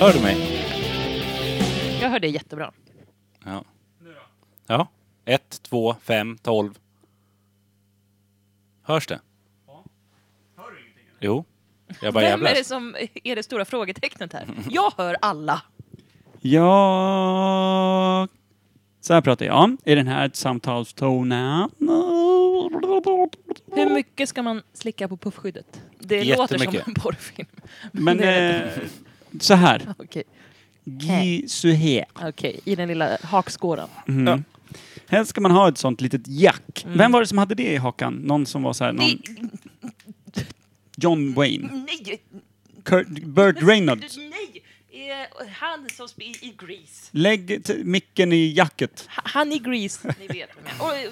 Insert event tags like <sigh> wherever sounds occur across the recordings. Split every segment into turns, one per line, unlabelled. Hör du mig?
Jag hör dig jättebra.
Ja. Ja. Ett, två, fem, tolv. Hörs det? Jo. Jag bara
Vem är
jävlas.
det som är det stora frågetecknet här? Jag hör alla.
Jag... Så här pratar jag i den här samtalstonen.
Hur mycket ska man slicka på puffskyddet? Det låter som
Jättemycket.
en porrfilm.
Men
Det är
eh, så här.
<laughs> Okej,
Gi så här.
okej. i den lilla hakskåran.
Mm. Helst ska man ha ett sånt litet jack.
Mm.
Vem var det som hade det i hakan? Någon som var så här, någon... John Wayne.
Nej!
Kurt, Burt Reynolds.
Nej! Eh, Han som spelar i Grease.
Lägg t- micken i jacket.
Han i Grease, ni vet vem jag är. Och, eh,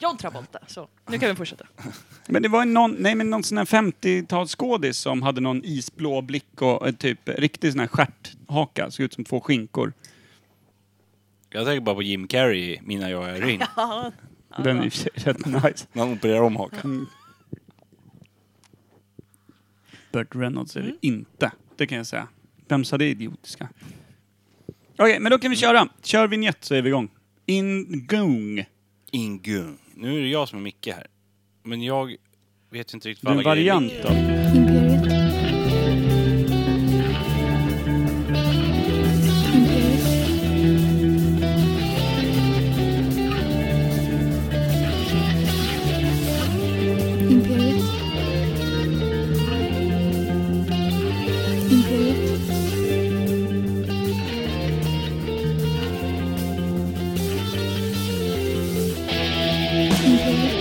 John Travolta. Så, nu kan vi fortsätta.
Men det var en någon, nej men någon sån här 50-talsskådis som hade någon isblå blick och eh, typ riktig sån här stjärthaka. Såg ut som två skinkor.
Jag tänker bara på Jim Carrey, Mina jag är ring.
Ah.
Den är i och för sig <laughs> rätt nice.
När han opererar om hakan.
Burt Reynolds är det
Mm.
inte. Det kan jag säga. Vem sa det idiotiska? Okej, men då kan vi köra. Kör vignett så är vi igång. Ingång.
Ingung. Nu är det jag som är Micke här. Men jag vet inte riktigt
Det är en
alla grejer
variant
ligger.
av...
Imperiet. Imperiet. Imperiet. Imperiet. Imperiet.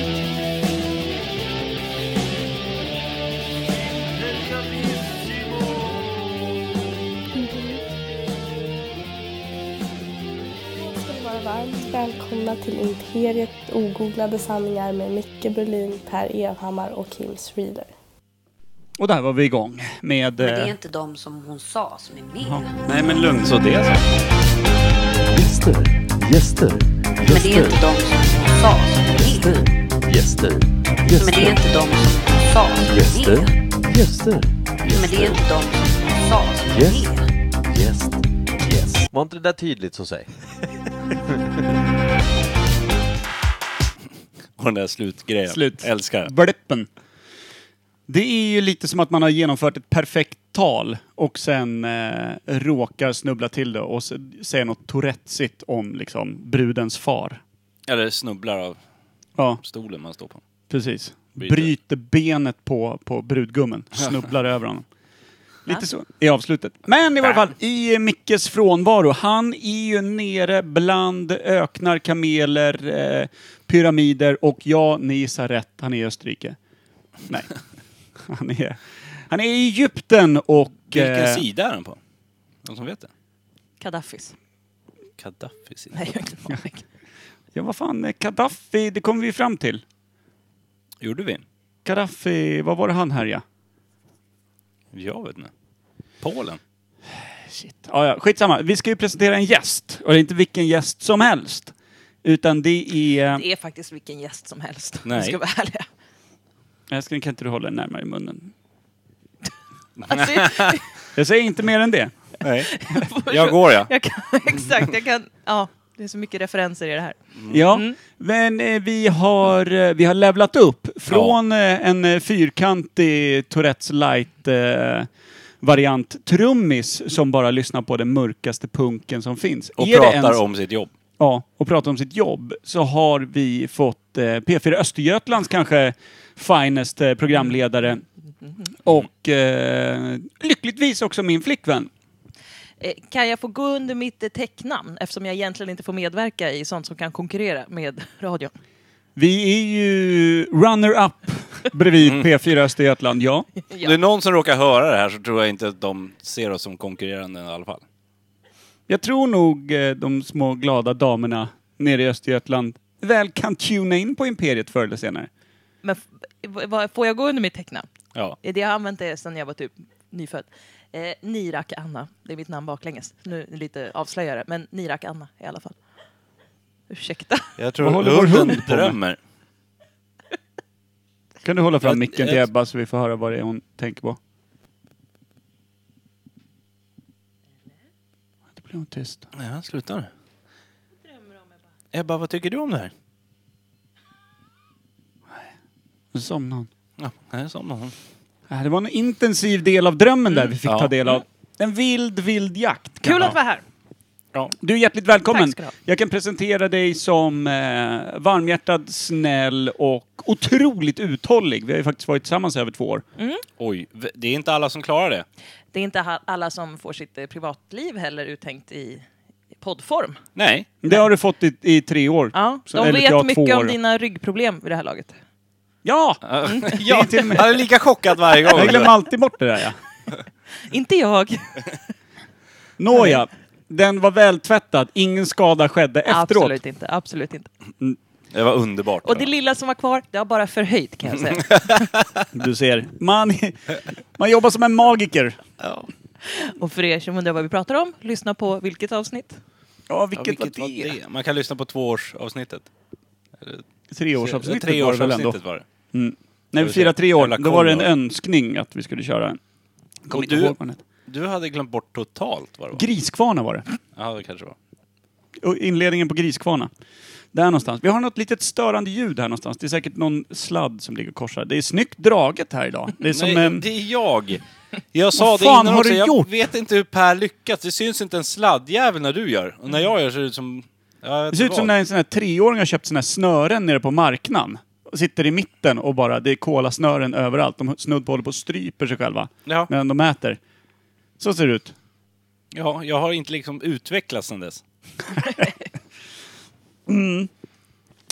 Imperiet. Imperiet.
ska ni vara varmt välkomna till Imperiet ogooglade sanningar med Micke Berlin, Per Evhammar och Kim Reader.
Och där var vi igång med...
Men det är
eh,
inte de som hon sa som är med.
ja. Nej men lugn så det är så.
Gäster, gäster,
Men det är
gäster,
inte de som hon sa som är med.
gäster,
Men det är
gäster,
inte de som hon sa som är
gäster,
med.
gäster,
Men det är inte de som hon sa som
Yes.
är med.
gäst, gäst. Var inte det där tydligt så säg?
Och den där slutgrejen.
Slut.
Älskar den.
Blippen. Det är ju lite som att man har genomfört ett perfekt tal och sen eh, råkar snubbla till det och s- säga något tourettesigt om liksom brudens far.
Eller snubblar av
Ja,
stolen man står på.
Eh. precis.
Bryter.
Bryter benet på,
<laughs>
på brudgummen. Snubblar över honom. Lite så i avslutet. Men i varje fall, i Mickes frånvaro. Han är ju nere bland öknar, kameler, eh, pyramider och ja, ni gissar rätt, han är i Österrike.
<laughs>
Nej. Han är, han är i Egypten och...
Vilken
eh,
sida är den på? Någon som vet det?
Gaddafis.
Kaddafis sida.
Nej, jag har inte en aning.
Ja, vad fan, eh, Gaddafi, det kommer vi fram till.
Gjorde vi?
Gaddafi, vad var det han härjade?
Jag vet inte. Polen?
Shit. Ja, ja, skitsamma. Vi ska ju presentera en gäst. Och det är inte vilken gäst som helst. Utan det är... eh,
Det är faktiskt vilken gäst som helst. om
Nej.
vi Ska vara
<laughs>
ärliga.
Älskling, kan inte du hålla den närmare i munnen?
Alltså,
Jag säger inte mer än det.
Nej. <laughs> Jag går ja.
jag kan, <laughs> exakt, jag kan... Ja, det är så mycket referenser i det här.
Mm.
Ja. Men eh, vi har, eh, vi har levlat upp från eh, en eh, fyrkantig Tourettes light eh, variant trummis som bara lyssnar på den mörkaste punken som finns.
Och
Är det
pratar
ens-
om sitt jobb.
ja, och pratar om sitt jobb så har vi fått eh, P4 Östergötlands kanske finest eh, programledare och eh, lyckligtvis också min flickvän.
Eh, Kan jag få gå under mitt eh, täcknamn eftersom jag egentligen inte får medverka i sånt som kan konkurrera med <laughs> radion?
Vi är ju runner-up bredvid P4 Östergötland, ja.
Om det är någon som råkar höra det här så tror jag inte att de ser oss som konkurrerande i alla fall.
Jag tror nog eh, de små glada damerna nere i Östergötland väl kan tuna in på Imperiet förr eller senare.
Men f- v- vad- får jag gå under mitt tecknamn?
Ja.
Eh, Det har jag använt det sedan jag var typ nyfödd. Eh, Nirak Anna, det är mitt namn baklänges. Nu är det lite avslöjare, men Nirak Anna i alla fall. Ursäkta. <laughs>
Jag
Vad håller vår hund på med?
drömmer.
Kan du hålla fram
Jag-
micken till
jag-
Ebba så vi får höra vad det är hon tänker på? Det blev hon tyst.
Nej, han slutar. Ebba, vad tycker du om det här?
Nu somnade hon.
Ja, här somnade hon.
Äh, Det var en intensiv del av drömmen där vi fick
Mm. Ja.
ta del av. En vild, vild jakt.
Kul
Ja.
att vara här.
Du är hjärtligt välkommen.
Tack ska du ha.
Jag kan presentera dig som eh, varmhjärtad, snäll och otroligt uthållig. Vi har ju faktiskt varit tillsammans över två år.
Oj, v- det är inte alla som klarar det.
Det är inte ha- alla som får sitt eh, privatliv heller uttänkt i i poddform.
Nej.
Det har du fått i, i tre år.
Ja,
Så-
de
eller ja,
vet
två
mycket
år.
om dina ryggproblem vid det här laget.
Ja!
Ja,
till och med-
han Mm, är lika chockad varje gång.
Jag glömmer alltid bort det där ja.
Inte <laughs> jag.
Nåja, den var vältvättad. Ingen skada skedde efteråt.
Absolut inte. Absolut inte.
Det var underbart.
Och det lilla som var kvar, det har bara förhöjt kan jag säga. <laughs>
Du ser. Man, man jobbar som en magiker.
Och för er som undrar vad vi pratar om, lyssna på vilket avsnitt?
Ja,
Ja,
vilket,
vilket
var det?
var det? Man kan lyssna på tvåårsavsnittet.
Treårsavsnittet var det väl ändå?
Treårsavsnittet var det.
När vi firade tre
Jävla
år, då var det en
kollo.
önskning att vi skulle köra en. Kommer
Och
inte
du-
ihåg vad den hette.
Du hade glömt bort totalt vad det var.
Griskvarna var det.
Ja, det kanske var.
Och inledningen på Griskvarna. Där någonstans. Vi har något litet störande ljud här någonstans. Det är säkert någon sladd som ligger och korsar. Det är snyggt draget här idag. Det är som
Nej,
en...
det är jag! Jag sa
Vad
det
fan
innan
har
också,
du
jag
gjort?
vet inte hur Per lyckas. Det syns inte en sladdjävel när du gör. Och när jag gör ser det ut som... Ja,
Det ser ut som när en sån här treåring har köpt såna här snören nere på marknaden. Och sitter i mitten och bara, det är kolasnören överallt. De snudd på håller på och stryper sig själva.
Ja.
Medan de äter. Så ser det ut.
Ja, jag har inte liksom utvecklats sedan dess.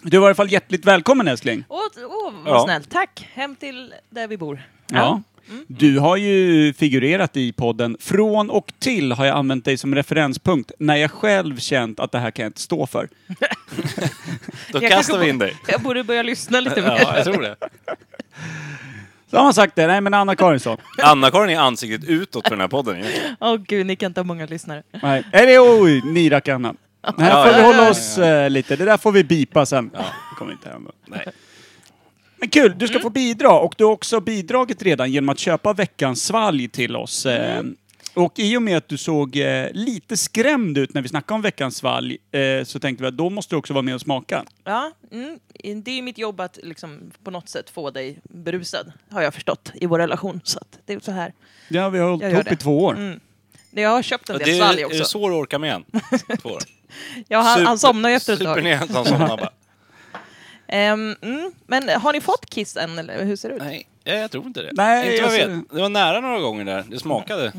Du var i alla fall hjärtligt välkommen älskling.
Åh, åh, vad
Ja.
snällt. Tack. Hem till där vi bor.
Ja. Du har ju figurerat i podden. Från och till har jag använt dig som referenspunkt när jag själv känt att det här kan jag inte stå för.
Då
Jag
kastar
kanske
vi in dig.
<laughs> Jag borde börja lyssna lite mer.
Ja, jag tror det.
Så har man sagt det. Nej men Anna-Karin sa.
<laughs> Anna-Karin är ansiktet utåt för den här podden egentligen.
Åh gud, ni kan inte ha många lyssnare.
Nej. Eller oj, ni rackar Anna.
Ja,
Här får vi
ja,
hålla
ja,
oss eh, lite. Det där får vi bipa sen. Det kommer inte hända.
Nej. Mm.
Men kul, du ska få bidra och du har också bidragit redan genom att köpa veckans svalg till oss.
Mm.
Eh, Och i och med att du såg eh, lite skrämd ut när vi snackade om veckans svalg eh, så tänkte vi att då måste du också vara med och smaka.
Ja, mm. Det är mitt jobb att liksom på något sätt få dig berusad, har jag förstått, i vår relation. Så att det är så här.
Ja, vi har hållit
Jag gör
ihop
det.
i två år.
Mm.
Jag har köpt en
Det
del svalg
är, är
också.
det så du orkar med en? Två år.
Ja, han, han somnar ju <laughs> efter ett
Super
tag.
ner han somnar bara.
Ehm, mm. Men har ni fått Kiss än, eller hur ser det ut?
<laughs> Nej, jag, jag tror inte det.
Nej,
inte vad jag
jag
vet. Det var nära några gånger där. Det <laughs> smakade.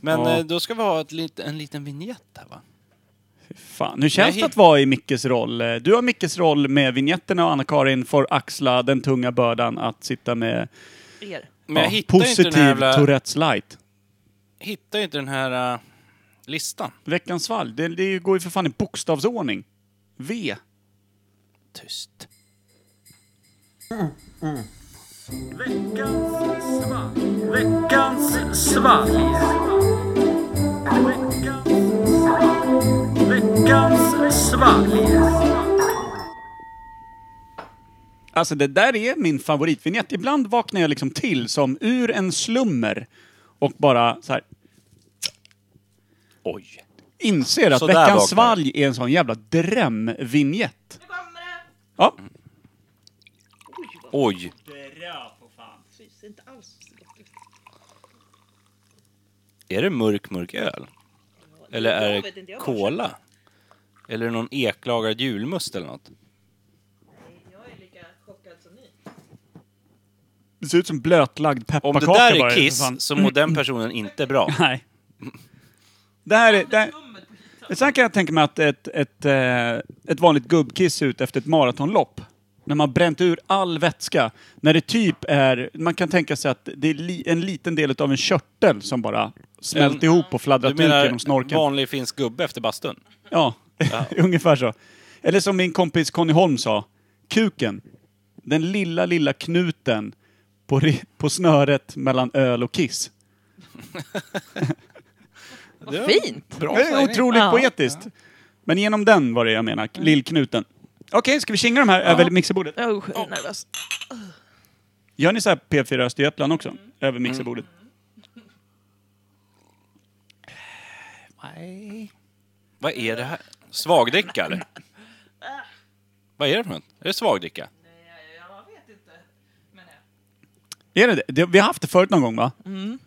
Men
Ja.
eh, då ska vi ha ett, lit- en liten vignett här va?
Fan, hur känns
Nej.
det att vara i Mickes roll? Eh, Du har Mickes roll med vignetterna och Anna-Karin får axla den tunga bördan att sitta med
Er.
Men jag
ja,
hittar ju inte
positiv
den här jävla,
Tourettes light.
hittar ju inte den här eh, listan.
Veckans svalg, det, det går ju för fan i bokstavsordning. V.
Tyst.
Alltså det där är min favoritvinjett. Ibland vaknar jag liksom till som ur en slummer och bara så här
Oj.
inser att
Så där
veckans
vaknar jag.
svalg är en sån jävla drömvinjett. Ja,
Oj. Är det mörk, mörk öl? Eller är
vet inte,
det
jag bara
cola? Eller är det någon eklagrad julmust eller något?
Jag är lika chockad som ni.
det ser ut som blötlagd
Om det
pepparkaka
där
bara,
är
för
Kiss
fan.
så mår den personen inte bra.
<laughs>
<laughs>
Nej. Det här är... Det här... Sen kan jag tänka mig att ett, ett, eh, ett vanligt gubbkiss är ute efter ett maratonlopp. När man bränt ur all vätska. När det typ är... Man kan tänka sig att det är li, en liten del av en körtel som bara smält
Men-
ihop och
Du
fladdrat ut genom
menar
snorkeln.
vanlig finsk gubbe efter bastun?
Ja, <laughs> ungefär så. Eller som min kompis Conny Holm sa, kuken. Den lilla, lilla knuten på, ri- på snöret mellan öl och kiss.
<laughs>
Det var
Fint!
Bra
Det är
sägning.
otroligt
Ja. Mm.
poetiskt. Men genom den var det jag menar, lillknuten. Okej, ska vi kinga de här över mixerbordet?
Jag är nervös.
Gör ni så här P4 Östergötland också?
Mm.
Över mixerbordet?
Vad är det här? Svagdricka
<laughs>
eller? Vad är det för något? Är det svagdricka?
Jag vet inte. Men
Är det det? det? Vi har haft det förut någon gång va?
Mm.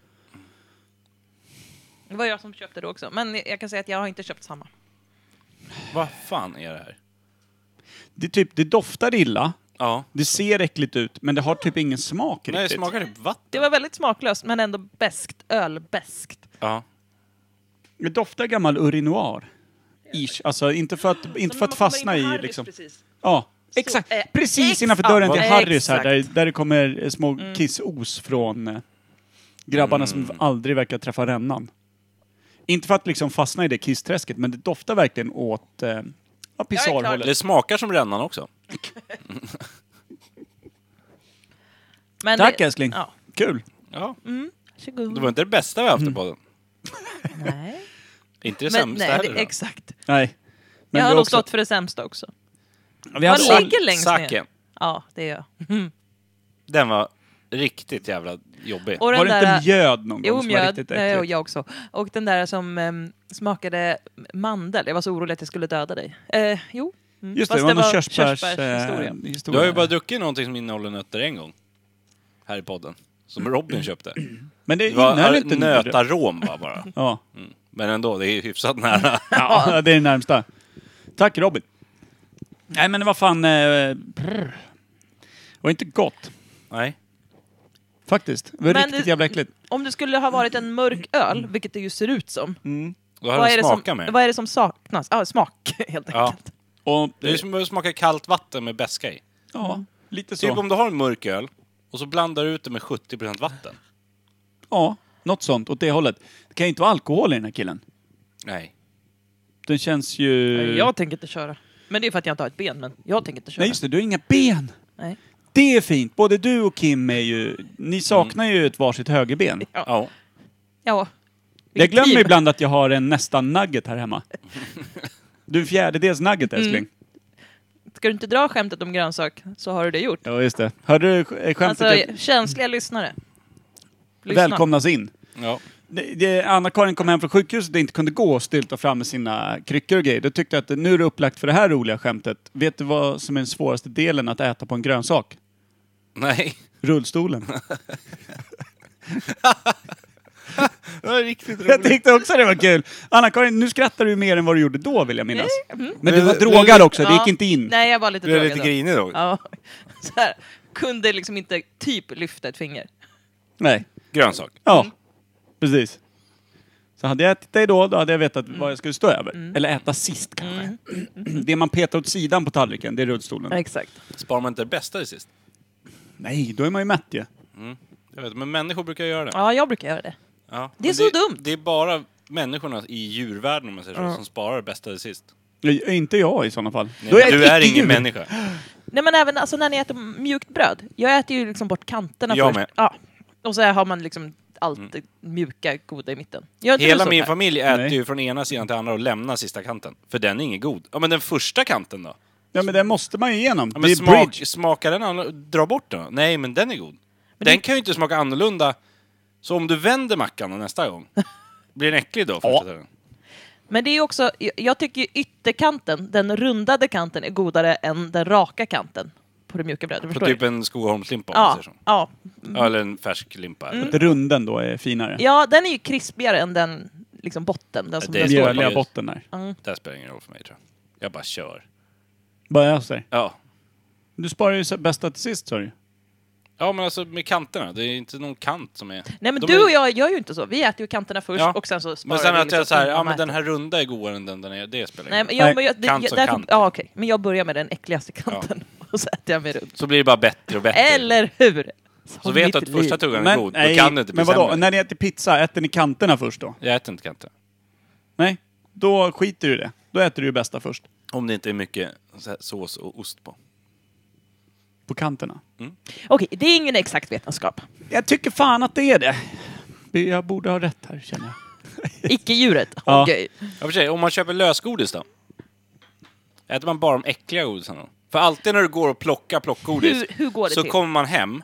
det var jag som köpte det också. Men jag kan säga att jag har inte köpt samma.
Vad fan är det här?
Det, är typ, det doftar illa,
Ja.
det ser äckligt ut, men det har typ ingen smak
Nej, det
riktigt.
smakar typ vatten.
Det var väldigt smaklöst, men ändå beskt. Ölbeskt.
Ja.
Det doftar gammal urinoir. Ish. Alltså inte för att, inte för att fastna i liksom. Ja, exakt.
eh,
Precis
ex-
innanför
ja,
dörren till
eh,
Harrys här, där,
exakt. Mm.
där det kommer eh, små kissos från eh, grabbarna som aldrig verkar träffa rännan. Inte för att liksom fastna i det kissträsket, men det doftar verkligen åt eh, ja, pissoarhållet.
Det smakar som rännan också.
Men
Tack
det-
älskling!
Ja.
Kul!
Ja. Det
Varsågod.
var inte det bästa vi haft i podden.
Nej.
Inte det
Mm. Men,
sämsta
nej,
heller.
det,
då.
exakt.
Nej. Men
jag
vi
har nog
också,
stått för det sämsta också.
vi
Man
hade all,
ligger längst ner.
Sake.
Ja, det gör jag.
Den var riktigt jävla jobbig.
Och den
var det
där,
inte mjöd någon gång
Jo,
som var
mjöd.
riktigt
Nej, och
äckligt?
jag också. Och den där som ehm, smakade mandel. Jag var så orolig att jag skulle döda dig. Eh, jo. Mm.
Just det,
Fast
det var någon eh,
körsbärshistoria.
körsbärshistoria.
Du har ju bara druckit någonting som innehåller nötter en gång. Här i podden. Som Robin köpte. <clears throat>
Men det
Det var
innehöll
inte
inte nötar.
nötarom var bara.
Ja.
Men ändå, det är ju hyfsat <laughs> nära.
Ja, det är det närmsta. Tack Robin. Nej men vad fan... Eh, brr. det var inte gott,
Nej.
faktiskt. Det var
Men
riktigt
det-
jävla äckligt.
Om det skulle ha varit en mörk
Mm.
öl, vilket det ju ser ut som.
Då
Vad
har
är,
den
det
smakat
som,
mer.
vad är det som saknas? Ja, smak, <laughs> helt
Ja.
enkelt.
Och,
Det är som att smaka kallt vatten med beska i.
ja, lite
Typ
så.
om du har en mörk öl och så blandar du ut det med 70% vatten.
Ja, något sånt åt det hållet. Det kan ju inte vara alkohol i den här killen.
Nej.
Den känns ju...
Jag tänker inte köra. Men det är för att jag inte har ett ben, men jag tänker inte köra.
Nej just det, du har inga ben!
Nej.
Det är fint. Både du och Kim är ju... Ni saknar ju ett varsitt högerben.
Mm. Ja.
Ja.
Jag
Vilket liv.
glömmer ibland att jag har en nästan nugget
<laughs>
här hemma. Du är en fjärdedels nugget
Mm.
älskling.
Ska du inte dra skämtet om grönsak så har du det gjort.
Ja, just det. Hörde du sk- eh, skämtet?
Alltså, känsliga lyssnare. Lyssna.
välkomnas in.
Ja.
Det- det- Anna-Karin kom hem från sjukhuset och inte kunde gå och stylta fram med sina kryckor och grejer. Då tyckte jag att nu är det upplagt för det här roliga skämtet. Vet du vad som är den svåraste delen att äta på en grönsak?
Nej.
<laughs> Rullstolen.
Det var riktigt roligt.
jag tyckte också det var kul. Anna-Karin, nu skrattar du mer än vad du gjorde då vill jag minnas. Men du
Men-
var
men-
drogad också, det
Mm, Ja.
gick inte in.
Nej, jag var lite
Du är
drogad.
lite
då.
grinig då.
Ja. <laughs> Så här. Kunde liksom inte typ lyfta ett finger.
Nej.
Grönsak.
Ja,
Mm.
precis. Så hade jag ätit dig då, då hade jag vetat
Mm.
vad jag skulle stå över. Eller äta sist kanske. <clears throat> Det man petar åt sidan på tallriken, det är rullstolen.
Exakt.
Sparar man inte det bästa till sist?
Nej, då är man ju mätt ju.
Jag vet, men människor brukar göra det.
Ja, jag brukar göra det.
Ja.
Det är
Men
så dumt.
Det är bara människorna i djurvärlden, om man säger så, som sparar det bästa till sist.
Nej, Inte jag i sådana fall.
Nej,
Då
men
jag
du
ett
är ingen
icke-djur.
människa.
Nej, men även alltså, när ni äter mjukt bröd. Jag äter ju liksom bort kanterna
Jag
först.
med. Mm.
Ja. Och så här har man liksom allt det mjuka, goda i mitten. Gör inte du
Hela
så
min
Per?
familj äter
Nej.
ju från ena sidan till andra och lämnar sista kanten. För den är ingen god. Ja, men den första kanten då?
Ja, men det måste man ju igenom.
Ja,
det är
men smak,
bridge.
smakar den annorlunda? Dra bort den då? Nej, men den är god. den kan ju inte smaka annorlunda. Så om du vänder mackan då nästa
<laughs>
gång, blir den äcklig då? första tiden?
Men det är ju också, jag- jag tycker ju ytterkanten, den rundade kanten, är godare än den raka kanten på det mjuka brödet.
På
Förstår
typ
du?
en Skogaholmslimpa om man
Ja, Mm.
säger så.
ja.
Ja, eller en färsk limpa. eller-
Att Runden då är finare.
ja, den är ju krispigare än den liksom botten. Den som
Det
den
är
står
mjöl.
på.
Mjöliga
just-
botten där.
Det här spelar ingen roll för mig tror jag. Jag bara kör.
Bara jag säger.
Ja.
Du sparar ju så- bästa till sist sa du
Ja men alltså med kanterna, det är inte någon kant som är...
Nej men
De
du
är-
och jag gör ju inte så. Vi äter ju kanterna först
Ja.
och sen så sparar
Men sen
vi
att jag såhär,
innan
ja
man
men den
äter.
här runda är godare än den den är, det spelar
Nej,
ingen roll.
men jag,
Nej,
men jag, det,
kant
jag,
som
därför,
kant.
ja, okej. Men jag börjar med den äckligaste kanten <laughs> och så äter jag mig runt.
Så blir det bara bättre och bättre.
Eller hur?
Så vet du att första tuggan är god, då kan det inte bli
men vadå?
sämre.
När ni äter pizza, äter ni kanterna först då?
Jag äter inte kanter.
Nej, då skiter du i det. Då äter du ju bästa först.
Om det inte är mycket så här sås och ost på.
På kanterna.
typ-
Okej, det är ingen exakt vetenskap.
Jag tycker fan att det är det. Jag borde ha rätt här känner jag.
Icke-djuret.
Ja.
Okej.
<laughs> Ja, för sig, om man köper lösgodis då? Äter man bara de äckliga godisarna då? För alltid när du går och plockar plockgodis
Hur- hur går det
så
till?
kommer man hem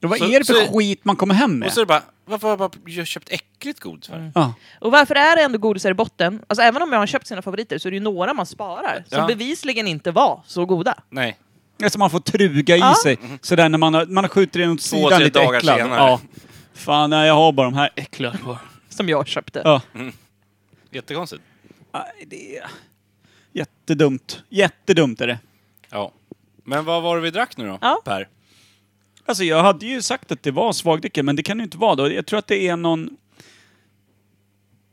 Då vad
Så-
är det för
så-
skit man kommer hem med?
Och så är det bara, varför har jag bara köpt äckligt godis
Mm.
för?
ja.
Och varför är det ändå godisar i botten? Alltså även om man har köpt sina favoriter så är det ju några man sparar som
Ja.
bevisligen inte var så goda.
Nej.
Alltså man får truga i
Ja.
sig. Sådär när man, har, man skjuter den åt sidan
tre
lite
dagar
äcklad.
senare.
Ja. Fan, nej, jag har bara de här äckliga kvar.
Som jag köpte.
Ja.
Jättekonstigt.
Nej, det är... Jättedumt. Jättedumt är det.
Ja. Men vad var det vi drack nu då,
Ja.
Per?
Alltså jag hade ju sagt att det var svagdrycker, men det kan ju inte vara då. Jag tror att det är någon...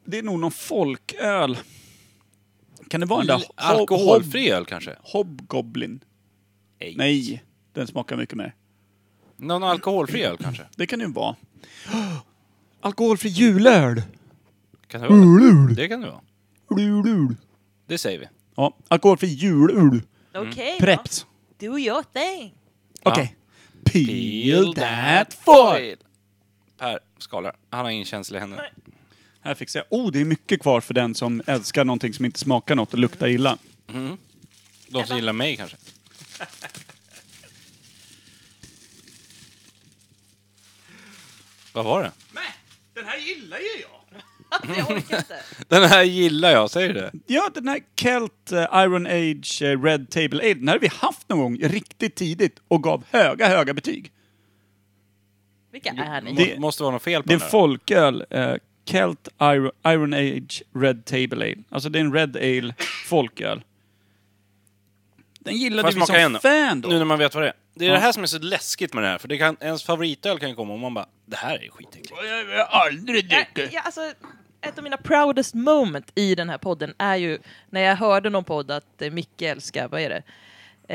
Det är nog någon folköl. Kan det vara den där
L-
hob-
Alkoholfri öl kanske?
hob- Hobgoblin?
Nej.
Nej, den smakar mycket mer.
Någon alkoholfri öl kanske?
Det kan det ju vara. Alkoholfri julöl!
Kan det vara det? Det kan det vara.
Ulul.
Det säger vi.
Ja, alkoholfri julul.
Mm.
Okej,
Preps.
do your thing.
Okej. Peel that foil!
Per skalar. Han har ingen känsla i händerna.
Här fixar jag. Oh, det är mycket kvar för den som älskar någonting som inte smakar något och luktar illa.
De som gillar mig kanske. Vad var det?
Jag orkar inte.
Den här gillar jag, säger du det?
Ja, den här Kelt eh, Iron Age eh, Red Table Ale, den här har vi haft någon gång riktigt tidigt och gav höga, höga betyg.
Vilka är ni?
Må-
Det-
måste vara något fel på
Det är
den
en folköl, eh, Kelt Iron, Iron Age Red Table Ale. Alltså det är en Red Ale folköl. Den
Får
gillade
jag
vi som
smaka igen då?
fan då.
Nu när man vet vad det är. Det är
Ja.
det här som är så läskigt med det här, för det kan, ens favoritöl kan ju komma och man bara det här är skitäckligt.
Jag har aldrig
Ja, ja, alltså, ett av mina proudest moment i den här podden är ju när jag hörde någon podd att eh, Micke älskar, vad är det?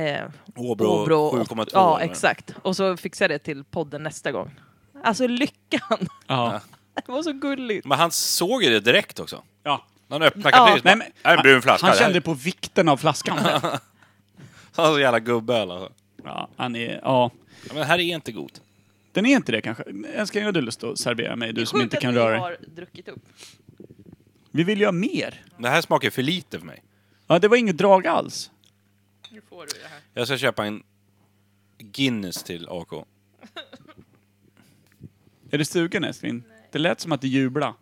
Eh,
Åbro
Åbro
7,2
åt- Ja,
eller?
exakt. Och så fixar jag det till podden nästa gång. Alltså lyckan! <laughs>
Ja.
Det var så gulligt.
Men han såg ju det direkt också.
ja.
När han öppnade
Ja.
kapsylen.
Nej,
Ja.
men-
Här är <laughs> en brun flaska.
Han
det här-
kände på vikten av flaskan.
<laughs> Han är så jävla gubböl alltså.
ja, han är, ja.
Ja, men det här är inte god.
Den är inte det kanske. Älskling, har du lust att servera mig? Du som
Sjukt
inte
att
kan
vi
röra dig.
har druckit upp.
Vi vill ju ha mer.
Det här smakar för lite för mig.
Ja, det var inget drag alls.
Nu får du det här.
Jag ska köpa en Guinness till AK.
Är du sugen älskling? Det lät som att du jubla.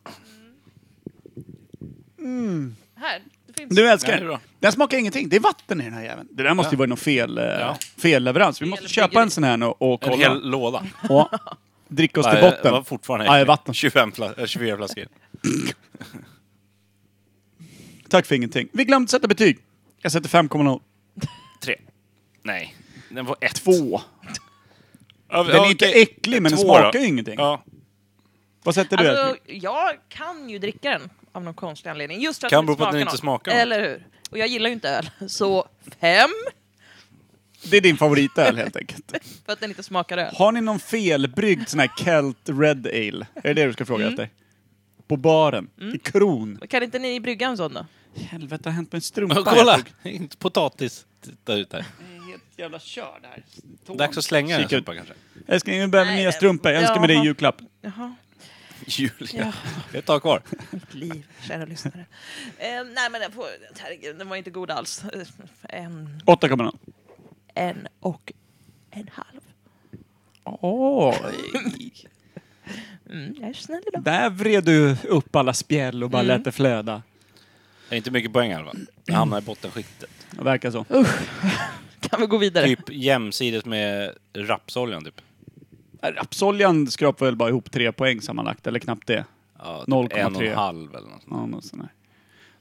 Här, det finns.
Du älskar
Nej, det är
den.
bra.
Den smakar ingenting. Det är vatten i den här jäveln. Det där måste ju vara någon fel, eh, felleverans. Vi måste
Fel
köpa
bryggeri.
en sån här nu och
En
kolla.
hel låda.
Och dricka oss till
Nej, Det var
botten.
fortfarande
Nej,
äckligt.
vatten.
25 flas- äh, 24 flaskor.
Tack för ingenting. Vi glömde sätta betyg. Jag sätter 5,0.
Tre. Nej. Den var ett.
Två.
Ja,
Den är inte
okej.
äcklig, men den
Två
smakar
då.
ju ingenting.
Ja.
Vad sätter du
Alltså,
älskling?
jag kan ju dricka den av någon konstig anledning. Just för att
Kan
den
bero på att den inte
något.
smakar något.
Eller hur? Och jag gillar ju inte öl. <laughs> Så fem,
Det är din favoritöl helt enkelt.
för att den inte smakar öl.
Har ni någon felbryggd sån här Kelt Red Ale? Är det det du ska fråga efter? På baren? I kron?
Kan inte ni brygga en sån då?
Mm. Helvete, det har hänt på en strumpa.
Och kolla!
Jag
Inte potatis. Titta ut här.
tog- Helt jävla körd här. Tån.
Dags att slänga den
Kika ut.
sopa kanske.
Älskling, vi behöver
Nej,
nya
det-
strumpor. Jag önskar mig det i
Jaha.
julklapp.
Jaha,
Julia. Det är ett tag kvar.
mitt liv, kära lyssnare. Eh, nej men den, får, herregud, den var inte god alls. Eh, En,
8,0.
en och en halv.
Oj!
Mm, jag är snäll idag.
Där vred du upp alla spjäll och bara lät det flöda.
Det är inte mycket poäng i alla fall. Jag hamnar i bottenskiktet.
Det verkar så.
Kan vi gå vidare?
Typ jämsides med rapsoljan typ.
Äh, Rapsoljan skrapade väl bara ihop tre poäng sammanlagt, eller knappt det.
Ja, typ
0,3.
En och en halv eller något sånt.
Ja, något sånt där.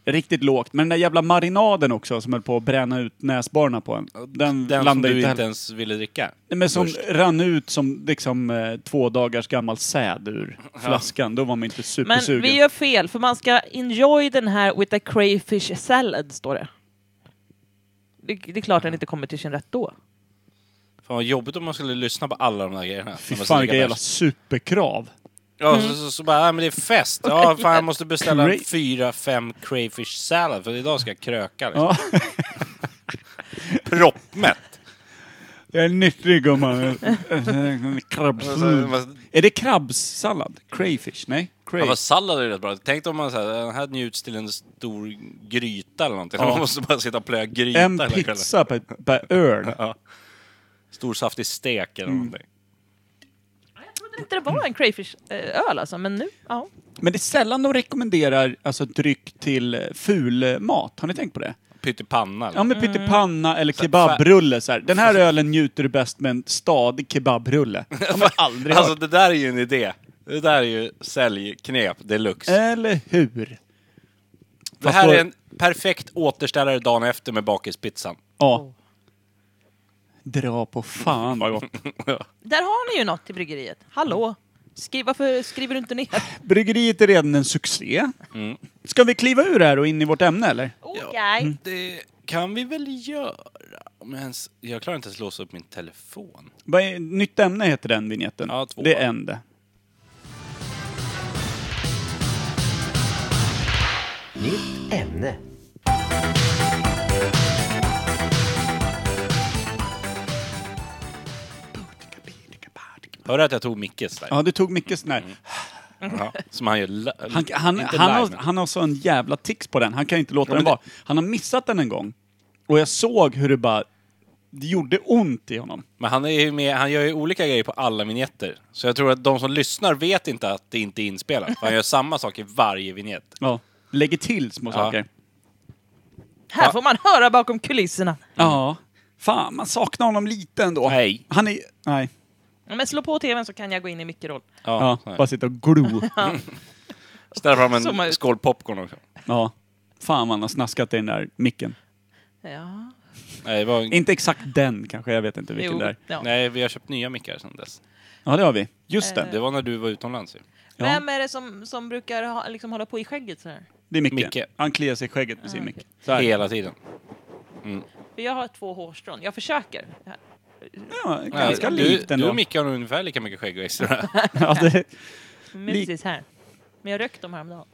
Riktigt lågt. Men den där jävla marinaden också som höll på att bränna ut näsborrarna på en. Den,
Den som du
landade Mm. inte,
inte
heller.
ens ville dricka.
Nej, Men som
först.
rann ut som liksom eh, två dagars gammal säd ur flaskan. Då var man inte
Men
supersugen.
vi gör fel, för man ska enjoy den här with a crayfish salad, står det. Det, det är klart den inte kommer till sin rätt då.
Fan vad jobbigt om man skulle lyssna på alla de där grejerna.
Fy
När man
fan
ska
vilka
dricka
jävla
bärs.
superkrav.
Ja, så, så, så bara, nej, men det är
<laughs>
fest. Ja, fan jag måste beställa
Cray-
fyra, fem crayfish salad för idag ska jag kröka liksom.
Ja.
<laughs> Proppmätt!
Jag är
<laughs>
nyttig gumman. Krabbs. Är det krabbsallad? Crayfish? Nej?
Ja,
Cray.
vad sallad är rätt bra. Tänk om man så här, den här njuts till en stor gryta eller någonting.
Ja.
Man måste bara sitta och plöja gryta
En
hela kvällen.
pizza per, per öl. Mm.
Stor saftig stek eller någonting.
trodde inte det var en crayfish-öl alltså, men nu, ja.
Men det är sällan de rekommenderar alltså, dryck till eh, fulmat. Har ni tänkt på det?
Pyttipanna.
Ja,
eller?
men
Mm.
pyttipanna eller kebabrulle. Så här. Den här ölen njuter du bäst med en stadig
<laughs>
kebabrulle. Har man aldrig
Alltså
hört.
det där är ju en idé. Det där är ju säljknep deluxe.
Eller hur?
det
Eh, fast
här
då-
är en perfekt återställare dagen efter med bakispizzan.
Ja. Dra på fan
<laughs>
vad gott.
Där har ni ju något till bryggeriet. Hallå! Skriv, varför skriver du inte <laughs> ner?
Bryggeriet är redan en succé.
Mm.
Ska vi kliva ur här och in i vårt ämne eller?
Okej.
Mm. Det kan vi väl göra. Men ens- jag klarar inte ens låsa upp min telefon.
Vad är, nytt ämne heter den vignetten.
Ja, två.
Det är en det.
Nytt ämne.
Hörde du att jag tog Mickes där?
Ja, du tog Mickes när.
Ja, Som han gör li-
Han,
Mm.
han,
inte
han,
live,
har,
men-
han har sån jävla tics på den. Han kan inte låta
Ja,
den
men
vara. Han har missat den en gång. Och jag såg hur det bara... Det gjorde ont i honom.
Men han, är ju med, han gör ju olika grejer på alla vignetter. Så jag tror att de som lyssnar vet inte att det inte är inspelat. För han gör samma sak i varje vignett.
Ja. Lägger till små
Ja. Mm.
saker.
Här får man höra bakom kulisserna.
Ja. Fan, man saknar honom lite ändå.
Nej.
Han är... Nej.
Ja, Men slå på tvn så kan jag gå in i mickeroll.
Ja,
Ja,
ja.
bara sitta och glo.
Ställer fram
Zooma
en
ut.
skål popcorn också.
ja. Fan, man har snaskat i den där micken.
Ja.
Nej, det var en...
Inte exakt den kanske, jag vet inte vilken
Jo,
det är.
ja.
Nej, vi har köpt nya mickar sedan dess.
Ja, det har vi. Just det.
Eh,
Det var när du var utomlands ju.
Ja.
Vem är det som, som brukar ha, liksom hålla på i skägget så här?
Det är Micke.
Micke.
Han kliar sig i skägget med
Ah,
sin mick. Så här.
Hela tiden.
För jag har två hårstrån. Jag försöker.
Ja, ganska
du,
likt
Du
ändå.
och Micke har nog ungefär lika mycket skägg och extra.
<laughs>
<laughs>
ja, det,
Precis här. Men jag rökt dem häromdagen.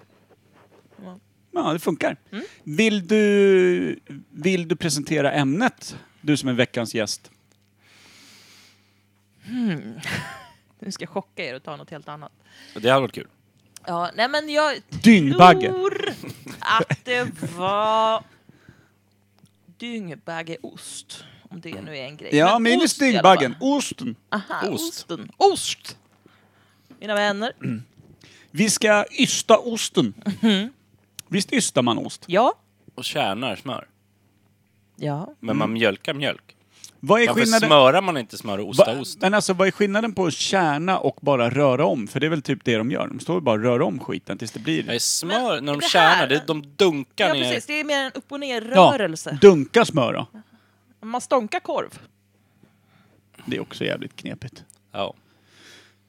ja, det funkar.
Mm.
Vill, du, vill du presentera ämnet? Du som är veckans gäst.
Nu ska jag chocka er och ta något helt annat.
det hade varit kul.
Ja, nej men jag
Dyngbagge.
tror att det var dyngbaggeost. Om det nu är en grej.
Ja,
Men
minus
ost i alla
dyngbaggen.
fall. Ah.
Osten.
Aha,
Ost.
osten. Ost! Mina vänner.
Mm. Vi ska
<laughs>
ysta osten.
Mm.
Visst ystar man ost?
Ja.
Och kärnar smör.
Ja.
Men man mjölkar mjölk.
Vad Mm. är
Varför
skillnaden?
smörar man inte smör och
Va,
ostar ost?
men alltså, vad är skillnaden på att kärna och bara röra om? För det är väl typ det de gör. De står och bara och rör om skiten tills det blir...
Nej, smör,
Men
när de
det här-
kärnar, det, de dunkar
ja,
ner.
precis. Det är mer en upp och
Ja,
ner-rörelse.
dunka smör då.
Man stånkar korv.
Det är också jävligt knepigt.
Ja.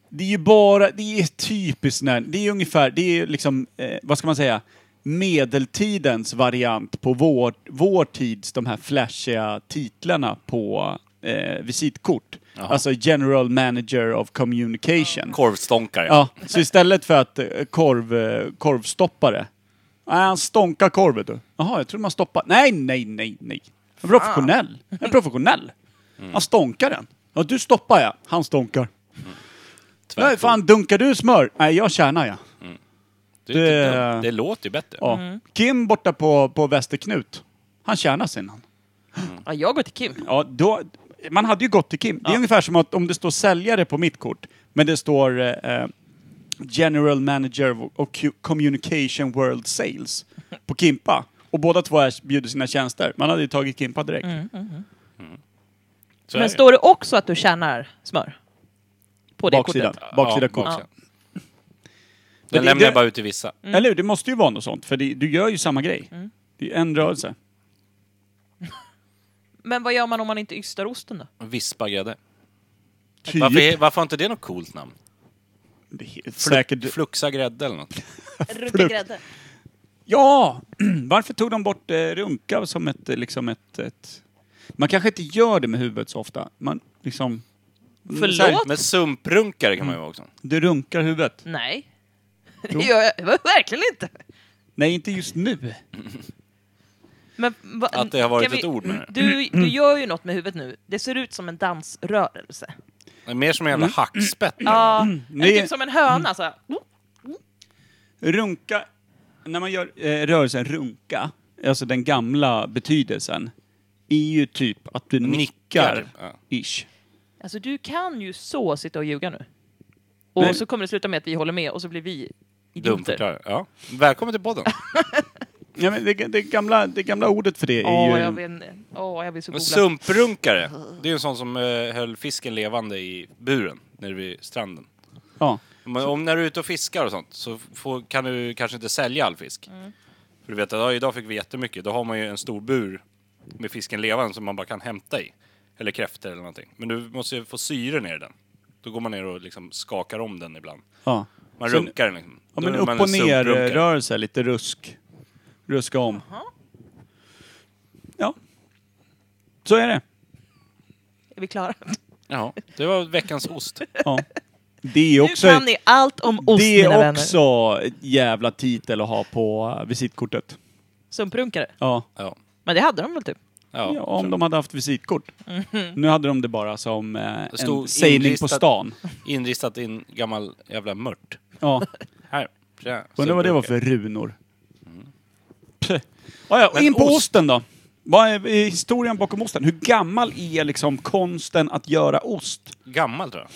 Det är ju bara, det är typiskt när, det är ungefär, det är liksom, eh, vad ska man säga, medeltidens variant på vår, vår tids de här flashiga titlarna på eh, visitkort. Alltså General Manager of Communication.
Korvstånkar, ja.
Ja, så istället för att eh, korv, eh, korvstoppare. Nej, han stonkar korvet du. Jaha, jag trodde man stoppar. Nej, nej, nej, nej. Jag är professionell. Jag är professionell. Han stonkar den. Ja, du stoppar ja. Han stonkar.
Tvärtom.
Nej, fan dunkar du smör? Nej, jag kärnar ja.
det, är inte
det-
dumt. det låter ju bättre.
ja. Kim borta på, på Västerknut. Han kärnar sin han.
Ja, jag går till Kim.
Ja, då, man hade ju gått till Kim. Det är ungefär som att om det står säljare på mitt kort, men det står eh, eh, General Manager och Communication World Sales på Kimpa. Och båda två erbjuder sina tjänster. Man hade ju tagit Kimpa direkt.
Så är
Men
det.
står det också att du tjänar smör? På det
Baksidan.
kortet?
Baksida
Ja,
kort.
baksida.
Men
Den
det-
lämnar jag
det-
bara ut till vissa.
Eller hur? Det måste ju vara något sånt, för det, du gör ju samma grej. Det är en rörelse.
Men vad gör man om man inte ystar osten <laughs> då?
Vispa grädde.
Typ.
Varför, varför har inte det något coolt namn?
Det är helt
Flu-
Säkert.
Fluxa grädde eller något.
Runka grädde.
Ja! <clears throat> Varför tog de bort eh, runka som ett, eh, liksom ett, ett... Man kanske inte gör det med huvudet så ofta. Man liksom... Så här,
Förlåt?
Men sumprunkare kan man ju vara också.
Du runkar huvudet.
Nej. Det
Jo.
gör jag <laughs> verkligen inte.
Nej, inte just nu.
typ Men, va,
Att det har varit
kan
ett ord med det.
Du, du gör ju något med huvudet nu. Det ser ut som en dansrörelse.
Det är Mer som en
Mm.
jävla hackspett.
Ja, eller
Nej.
typ som en
Mm.
höna så typ här.
Runka... När man gör eh, rörelsen runka, alltså den gamla betydelsen, är ju typ att du nickar,
Nickar, ja.
ish.
Alltså du kan ju så sitta och ljuga nu. Och
Nej.
så kommer det sluta med att vi håller med och så blir vi idioter.
Dumförklarare. Ja. Välkommen till podden.
Ja, men det, det, gamla, det gamla ordet för det
Åh,
är ju...
jag, vet inte. Åh, jag vill så
En
<laughs> googla.
Sumprunkare. Det är en sån som eh, höll fisken levande i buren nere vid stranden.
Ja.
Men om när du är ute och fiskar och sånt så får, kan du kanske inte sälja all fisk.
Mm.
För du vet att ja, idag fick vi jättemycket. Då har man ju en stor bur med fisken levande som man bara kan hämta i. Eller kräftor eller någonting. Men du måste ju få syre ner i den. Då går man ner och liksom skakar om den ibland.
ja.
Man
Så-
runkar den liksom. Då
Ja, men
är man
upp
en
och ner eh,
sumprunkare.
rörelse, lite rusk. Ruska om. Ja. Så är det.
Är vi klara?
Ja, det var veckans
<laughs>
ost.
Ja. Det är också,
nu kan ni allt om ost,
det
mina
är
vänner.
också ett jävla titel att ha på eh, visitkortet.
Sumprunkare.
Ja.
Ja.
Men det hade de väl typ?
Ja, Mhm.
Ja, om de hade haft visitkort. Nu hade de det bara som eh,
Det
en
stod
sägning på
inristat-
stan.
Inristat i en gammal jävla mört.
Ja.
<laughs> Här. Tja,
Undrar vad det var
sumprunkare.
för runor. <laughs> Pff. Ja, ja, och
Men
in på
ost-
osten då. Vad är eh, historien bakom osten? Hur gammal är liksom konsten att göra ost?
Gammal tror jag.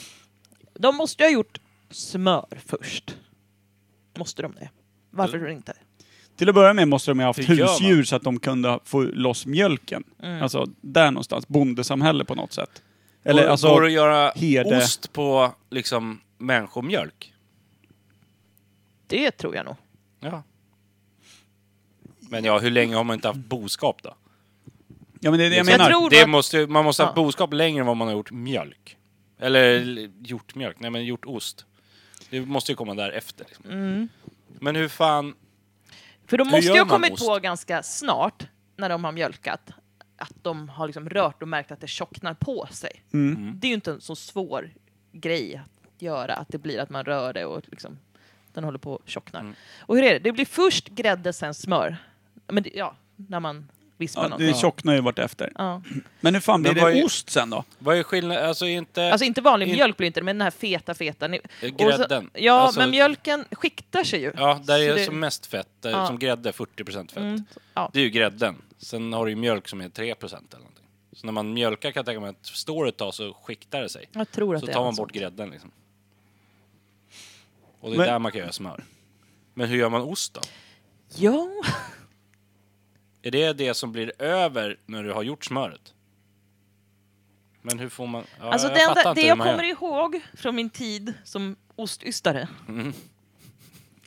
De måste ju ha gjort smör först. Måste de det? Varför inte?
Till att börja med måste de ju ha haft
Hur gör man? Mm.
husdjur så att de kunde få loss mjölken. Alltså där någonstans, bondesamhälle på något sätt. Eller
går,
alltså,
går det att göra
herde.
ost på liksom människomjölk?
Det tror jag nog.
Ja. Men ja, hur länge har man inte haft boskap då?
ja men det är det jag
Liksom,
menar.
tror
det
att-
måste, ju- man måste ha haft
Ja.
boskap längre än vad man har gjort mjölk. Eller l- gjort mjölk, nej men gjort ost. Det måste ju komma därefter. Liksom. Men hur fan...
För de
Hur
måste
gör
ju ha
man
kommit
ost?
på ganska snart, när de har mjölkat, att de har liksom rört och märkt att det tjocknar på sig.
Mm.
Det är ju inte en så svår grej att göra, att det blir att man rör det och liksom, den håller på och tjocknar. Och hur är det? Det blir först grädde, sen smör. Men det, ja, när man vispar
Ja,
något.
det tjocknar ju vartefter.
Ja.
Men hur fan blir
Men vad
det
är-
ost sen då?
Vad är skillnaden? Alltså inte...
Alltså inte vanlig
In-
mjölk blir inte det, men den här feta, feta. ni-
Eh,
och så-
grädden.
Ja,
Alltså-
men mjölken skiktar sig ju.
ja, där
Så
är det
det-
som mest fett. Där
Ja.
Som grädde, 40% fett.
Mm, ja.
Det är ju grädden. Sen har du ju mjölk som är 3% eller någonting. Så när man mjölkar kan jag tänka mig att står det ett tag så skiktar det sig.
Jag tror att
Så
det
tar
är
man
något
bort
sånt.
grädden liksom. Och det är
Men-
där man kan göra smör. Men hur gör man ost då?
Ja,
Är det det som blir över när du har gjort smöret? Men hur får man... Ja,
alltså
jag
det,
fattar
enda,
inte
det
hur
jag
man
kommer
gör.
ihåg från min tid som ostystare.
Mm.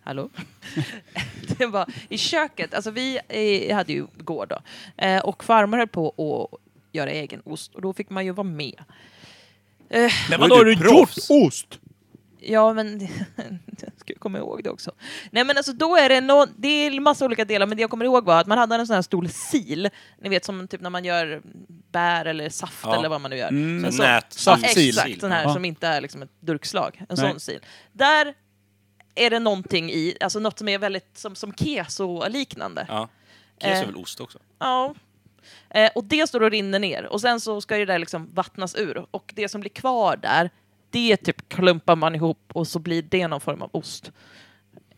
Hallå? <laughs> det var i köket, alltså vi eh, hade ju gård då. Eh, och farmor höll på att göra egen ost och då fick man ju vara med. Eh,
Men
vadå, har du proffs?
gjort ost?
Ja, men <laughs> jag ska komma ihåg det också. Nej, men alltså då är det nå det är massa olika delar, men det jag kommer ihåg var att man hade en sån här stor sil. Ni vet som typ när man gör bär eller saft
Ja.
eller vad man nu gör.
Mm.
En
En
sån-
nät-
Ja,
Saftsil.
Alltså, exakt, sån här
Ja.
som inte är liksom ett durkslag. En
Nej.
sån sil. Där är det någonting i, alltså något som är väldigt som, som keso-liknande.
Ja. Kes är
Eh.
väl ost också?
Ja. Eh, och det står och rinner ner och sen så ska ju det där liksom vattnas ur och det som blir kvar där det typ klumpar man ihop och så blir det någon form av ost.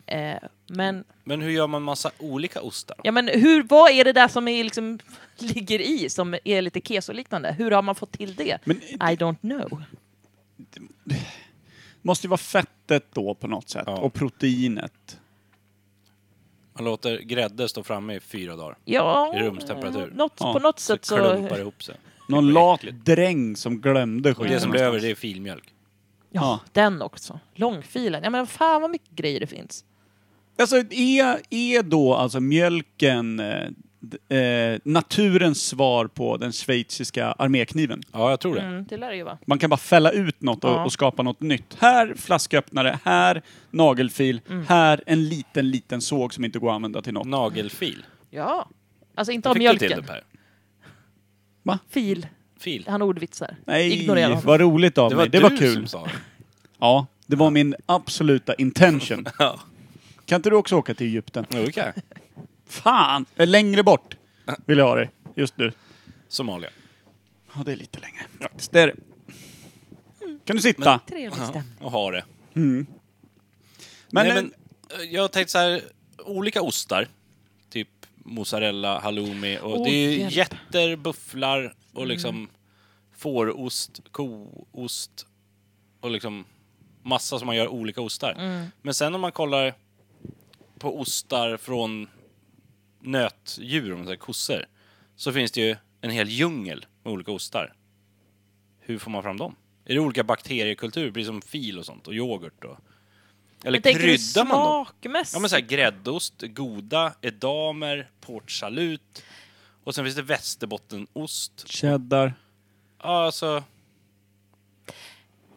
Eh, men,
Men hur gör man massa olika ostar?
ja, men hur, vad är det där som är liksom, <laughs> ligger i som är lite keso-liknande? Hur har man fått till det?
Men-
I don't know.
Måste ju vara fettet då på något sätt.
Ja.
Och proteinet.
Man låter grädde stå framme i fyra dagar.
Ja, eh,
I rumstemperatur.
Något,
Ja,
på något
Så,
sätt
klumpar det
så...
ihop sig.
Någon
Det var
lat
äckligt.
dräng som glömde
Och
skiten.
det som
Mm.
blir över det är filmjölk.
Ja.
Den också. Långfilen. Ja men fan vad mycket grejer det finns.
Alltså är, är då alltså mjölken eh, d- eh, naturens svar på den schweiziska armékniven?
Ja, jag tror det.
Mm, det lär det ju vara.
Man kan bara fälla ut något och,
Ja.
och skapa något nytt. Här flasköppnare, här nagelfil,
Mm.
här en liten, liten såg som inte går att använda till något.
Nagelfil.
Ja. Alltså
Fick
inte av
du till
mjölken.
det Per?
Fil.
Fil.
Han ordvitsar.
Nej,
Ignorera honom.
vad roligt av
Det var
mig. Det
du
var kul.
som sa det.
Ja, det var min absoluta <laughs> intention.
Ja.
Kan inte du också åka till Egypten?
Jo, det kan
<laughs>
jag.
Fan! Eh, Längre bort vill jag ha dig. Just nu.
Somalia.
Ja, det är lite längre. Faktiskt, det är det. Kan du sitta?
Trevlig stämning.
Och ha det.
Men,
Nej, men eh, jag tänkte så här, olika ostar. Typ mozzarella, halloumi och
Åh,
det är ju
hjälp.
getter, bufflar och liksom fårost, koost och liksom massa som man gör olika ostar. Men sen om man kollar på ostar från nötdjur, om man säger kossor, så finns det ju en hel djungel med olika ostar. Hur får man fram dem? Är det olika bakteriekultur, precis som fil och sånt, och yoghurt? Och... Eller
Men tänker du
kryddar man dem?
smakmässigt?
Ja men såhär gräddost, goda, edamer, port salut. Och sen finns det västerbottenost.
Cheddar.
Ja alltså...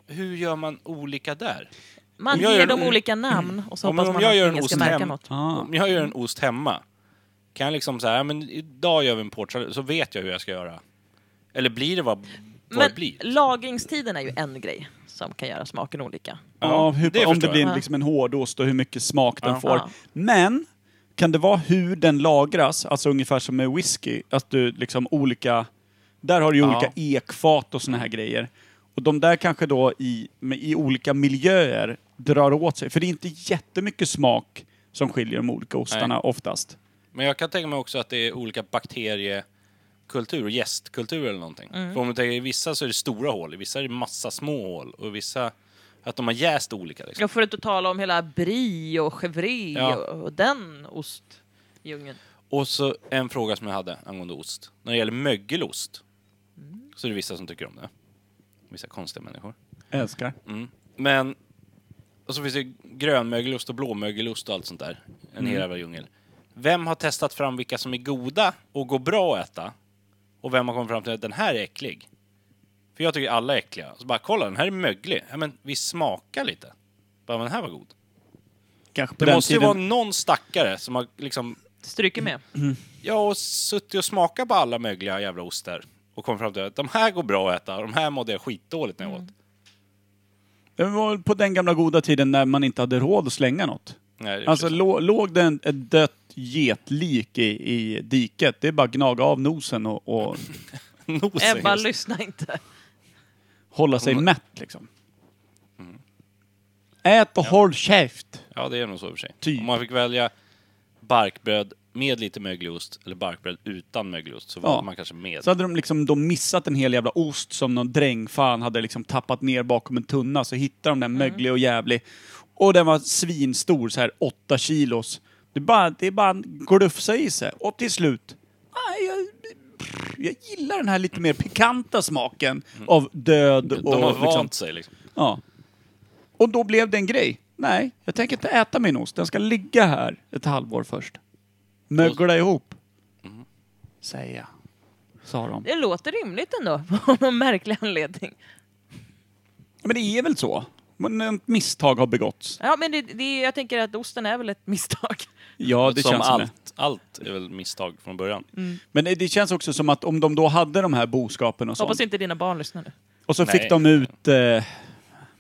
Hur gör man olika där?
man
om jag
ger
gör en
dem
o-
olika namn och så
Ja, men
hoppas
om
man
jag
att
gör en
ingen ska
ost
märka
hem-
något.
Ah.
Om jag gör en ost hemma, kan jag liksom såhär, men idag gör vi en port salut, så vet jag hur jag ska göra. Eller blir det vad, vad det
Men
blir?
lagringstiden är ju en grej som kan göra smaken olika.
Ja, hur,
det
om det
förstår
blir
jag.
jag.
liksom en hårdost och hur mycket smak den
Ja.
får.
Ja.
Men, kan det vara hur den lagras, alltså ungefär som med whisky, att du liksom olika... Där har du ju
Ja.
olika ekfat och såna här grejer. Och de där kanske då i, med, i olika miljöer drar åt sig. För det är inte jättemycket smak som skiljer de olika ostarna
Nej.
oftast.
Men jag kan tänka mig också att det är olika bakteriekultur och gästkultur eller någonting.
Mm.
För om du tänker i vissa så är det stora hål, i vissa är det massa små hål och i vissa att de har jäst olika. Liksom.
Jag får inte tala om hela Brie och Chevry
Ja.
och, och den ostdjungeln.
Och så en fråga som jag hade angående ost. När det gäller mögelost
Mm.
så är det vissa som tycker om det. Vissa konstiga människor.
Älskar.
Mm. Men och så finns det grönmögelost och blåmögelost och allt sånt där. En
Mm.
hel jävla djungel. Vem har testat fram vilka som är goda och går bra att äta? Och vem har kommit fram till att den här är äcklig? För jag tycker alla är äckliga. Så bara kolla, den här är möglig. Ja, men vi smakar lite. Bara, men den här var god.
Kanske på
Det
den
måste ju
tiden.
vara någon stackare som har liksom
Stryker med.
Mm. Ja, och suttit och smakat på alla möjliga jävla ostar och kom fram till att de här går bra att äta, de här mådde jag skitdåligt när jag
Mm.
åt.
Det var på den gamla goda tiden när man inte hade råd att slänga något.
Nej, det är
Alltså
precis.
lå- låg det en- ett dött getlik i, i diket, det är bara att gnaga av nosen och, och
<laughs> Nosen
Ebba,
just.
lyssna inte.
hålla sig mätt liksom. Ät och håll käft!
Ja, det är nog så i och för sig.
Typ.
Om man fick välja barkbröd med lite mögelost eller barkbröd utan mögelost så valde
Ja.
man kanske med.
Så hade de liksom då missat en hel jävla ost som någon drängfan hade liksom tappat ner bakom en tunna, så hittade de
Mm.
den möglig och jävlig. Och den var svinstor, så här 8 kilos. Det är bara, det är bara en glufsa i sig. Och till slut, "Nej, jag, jag gillar den här lite mer pikanta smaken av död och
Mm. de har
liksom,
vant sig liksom.
Ja. Och då blev det en grej. Nej, jag tänker inte äta min ost. Den ska ligga här ett halvår först. Mögla ihop.
Mm.
Säger jag. Sa de.
Det låter rimligt ändå, <laughs> av någon märklig anledning.
Men det är väl så? Men ett misstag har begåtts.
Ja, men det, det, jag tänker att osten är väl ett misstag.
som
Ja, det. Mm.
allt, allt är väl misstag från början.
Men det känns också som att om de då hade de här boskapen och sånt.
Hoppas inte dina barn lyssnar nu.
Och så fick
Nej.
de ut... Eh,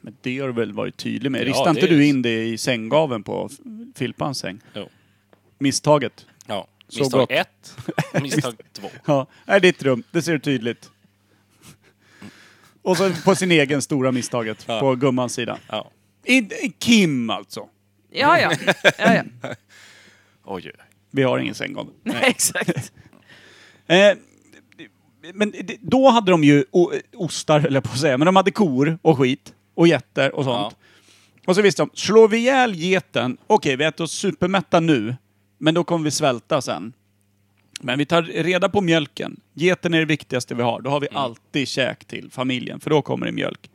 men det har du väl varit tydlig med?
Ja,
Ristade inte
det är-
du in det i sänggaven på F- Filpans säng?
Jo.
Misstaget.
Ja.
Så
Misstag
gott.
ett, misstag
<laughs>
två.
Ja, är ditt rum. Det ser du tydligt. Och så på sin egen stora misstaget,
Ja.
på gummans sida.
Ja.
I, i Kim alltså.
Ja, ja.
<laughs>
ja, <laughs> ja.
Oj, oj.
Vi har ingen sänggav.
Nej, exakt.
Eh, men det- då hade de ju o- ostar, eller på att säga, men de hade kor och skit och getter och sånt. Och så visste de, slår vi ihjäl geten, okej vi äter oss supermätta nu, men då kommer vi svälta sen. Men vi tar reda på mjölken. Geten är det viktigaste vi har. Då har vi
Mm.
alltid käk till familjen, för då kommer det mjölk.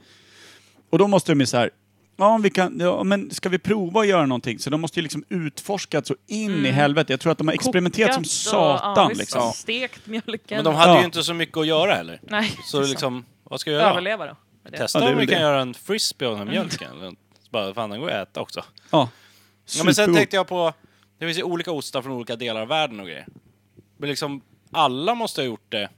Och då måste de ju så här, ja, om vi kan, ja men ska vi prova att göra någonting? Så de måste ju liksom utforskat så in i helvete. Jag tror att de har experimenterat som
Mm. Kokat och-
satan
ja, visst.
liksom.
Stekt mjölken.
Men de hade
Ja.
ju inte så mycket att göra heller.
Nej,
Så
det är
liksom, vad ska jag göra?
Överleva då. med det.
Testa
Ja, det är
om vi
väl
kan
det.
göra en frisbee av den här mjölken.
<laughs>
Eller något. Bara, fan, den går att äta också.
Ja.
Ja, men sen
Supergod.
tänkte jag på, det finns ju olika ostar från olika delar av världen och grejer. Men liksom, alla måste ha gjort det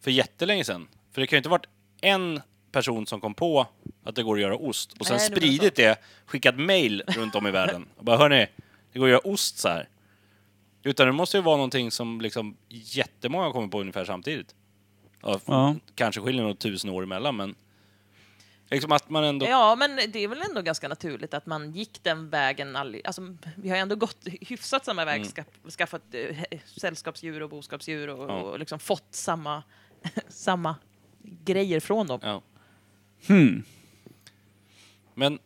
för jättelänge sedan. För det kan ju inte ha varit en person som kom på att det går att göra ost och sen
Nej, det var
spridit det, skickat mail runt om i världen. Och bara, hörni, det går att göra ost så här. Utan det måste ju vara någonting som liksom jättemånga kommer på ungefär samtidigt. Ja, f-
Ja.
Kanske skiljer något tusen år emellan, men... Liksom att man ändå...
Ja, men det är väl ändå ganska naturligt att man gick den vägen. all- Alltså, vi har ju ändå gått hyfsat samma
Mm.
väg, ska, skaffat eh, he- sällskapsdjur och boskapsdjur och,
Ja.
och liksom fått samma, <laughs> Hmm. samma grejer från dem.
Ja. Men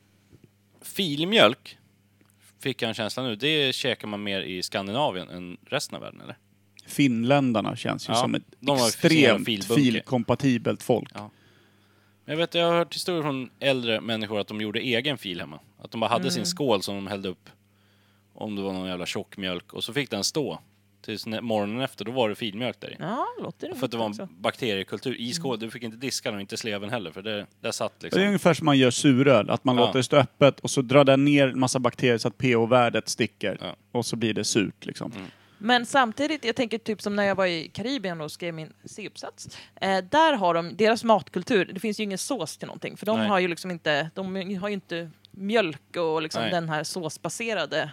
filmjölk, fick jag en känsla nu, det käkar man mer i Skandinavien än resten av världen eller?
Finländarna känns ju
Ja,
som ett
de har ju
extremt
filbunke.
filkompatibelt folk.
Ja. Men Jag vet, jag har hört historier från äldre människor att de gjorde egen fil hemma. Att de bara hade
Mm.
sin skål som de hällde upp om det var någon jävla tjockmjölk och så fick den stå. Tills nä- morgonen efter, då var det filmjölk där i.
Ja, låter det
För att det var
också. Mm.
en bakteriekultur i skålen. Du fick inte diska den och inte sleven heller för det, där satt
Det är
liksom.
ungefär som man gör suröl, att man
Ja.
låter det stå öppet och så drar den ner en massa bakterier så att pH-värdet sticker.
Ja. Mm.
Och så blir det surt liksom.
Men samtidigt, jag tänker typ som när jag var i Karibien och skrev min C-uppsats. Eh, där har de, deras matkultur, det finns ju ingen sås till någonting. För de
Nej.
har ju liksom inte, de har ju inte mjölk och liksom
Nej.
den här såsbaserade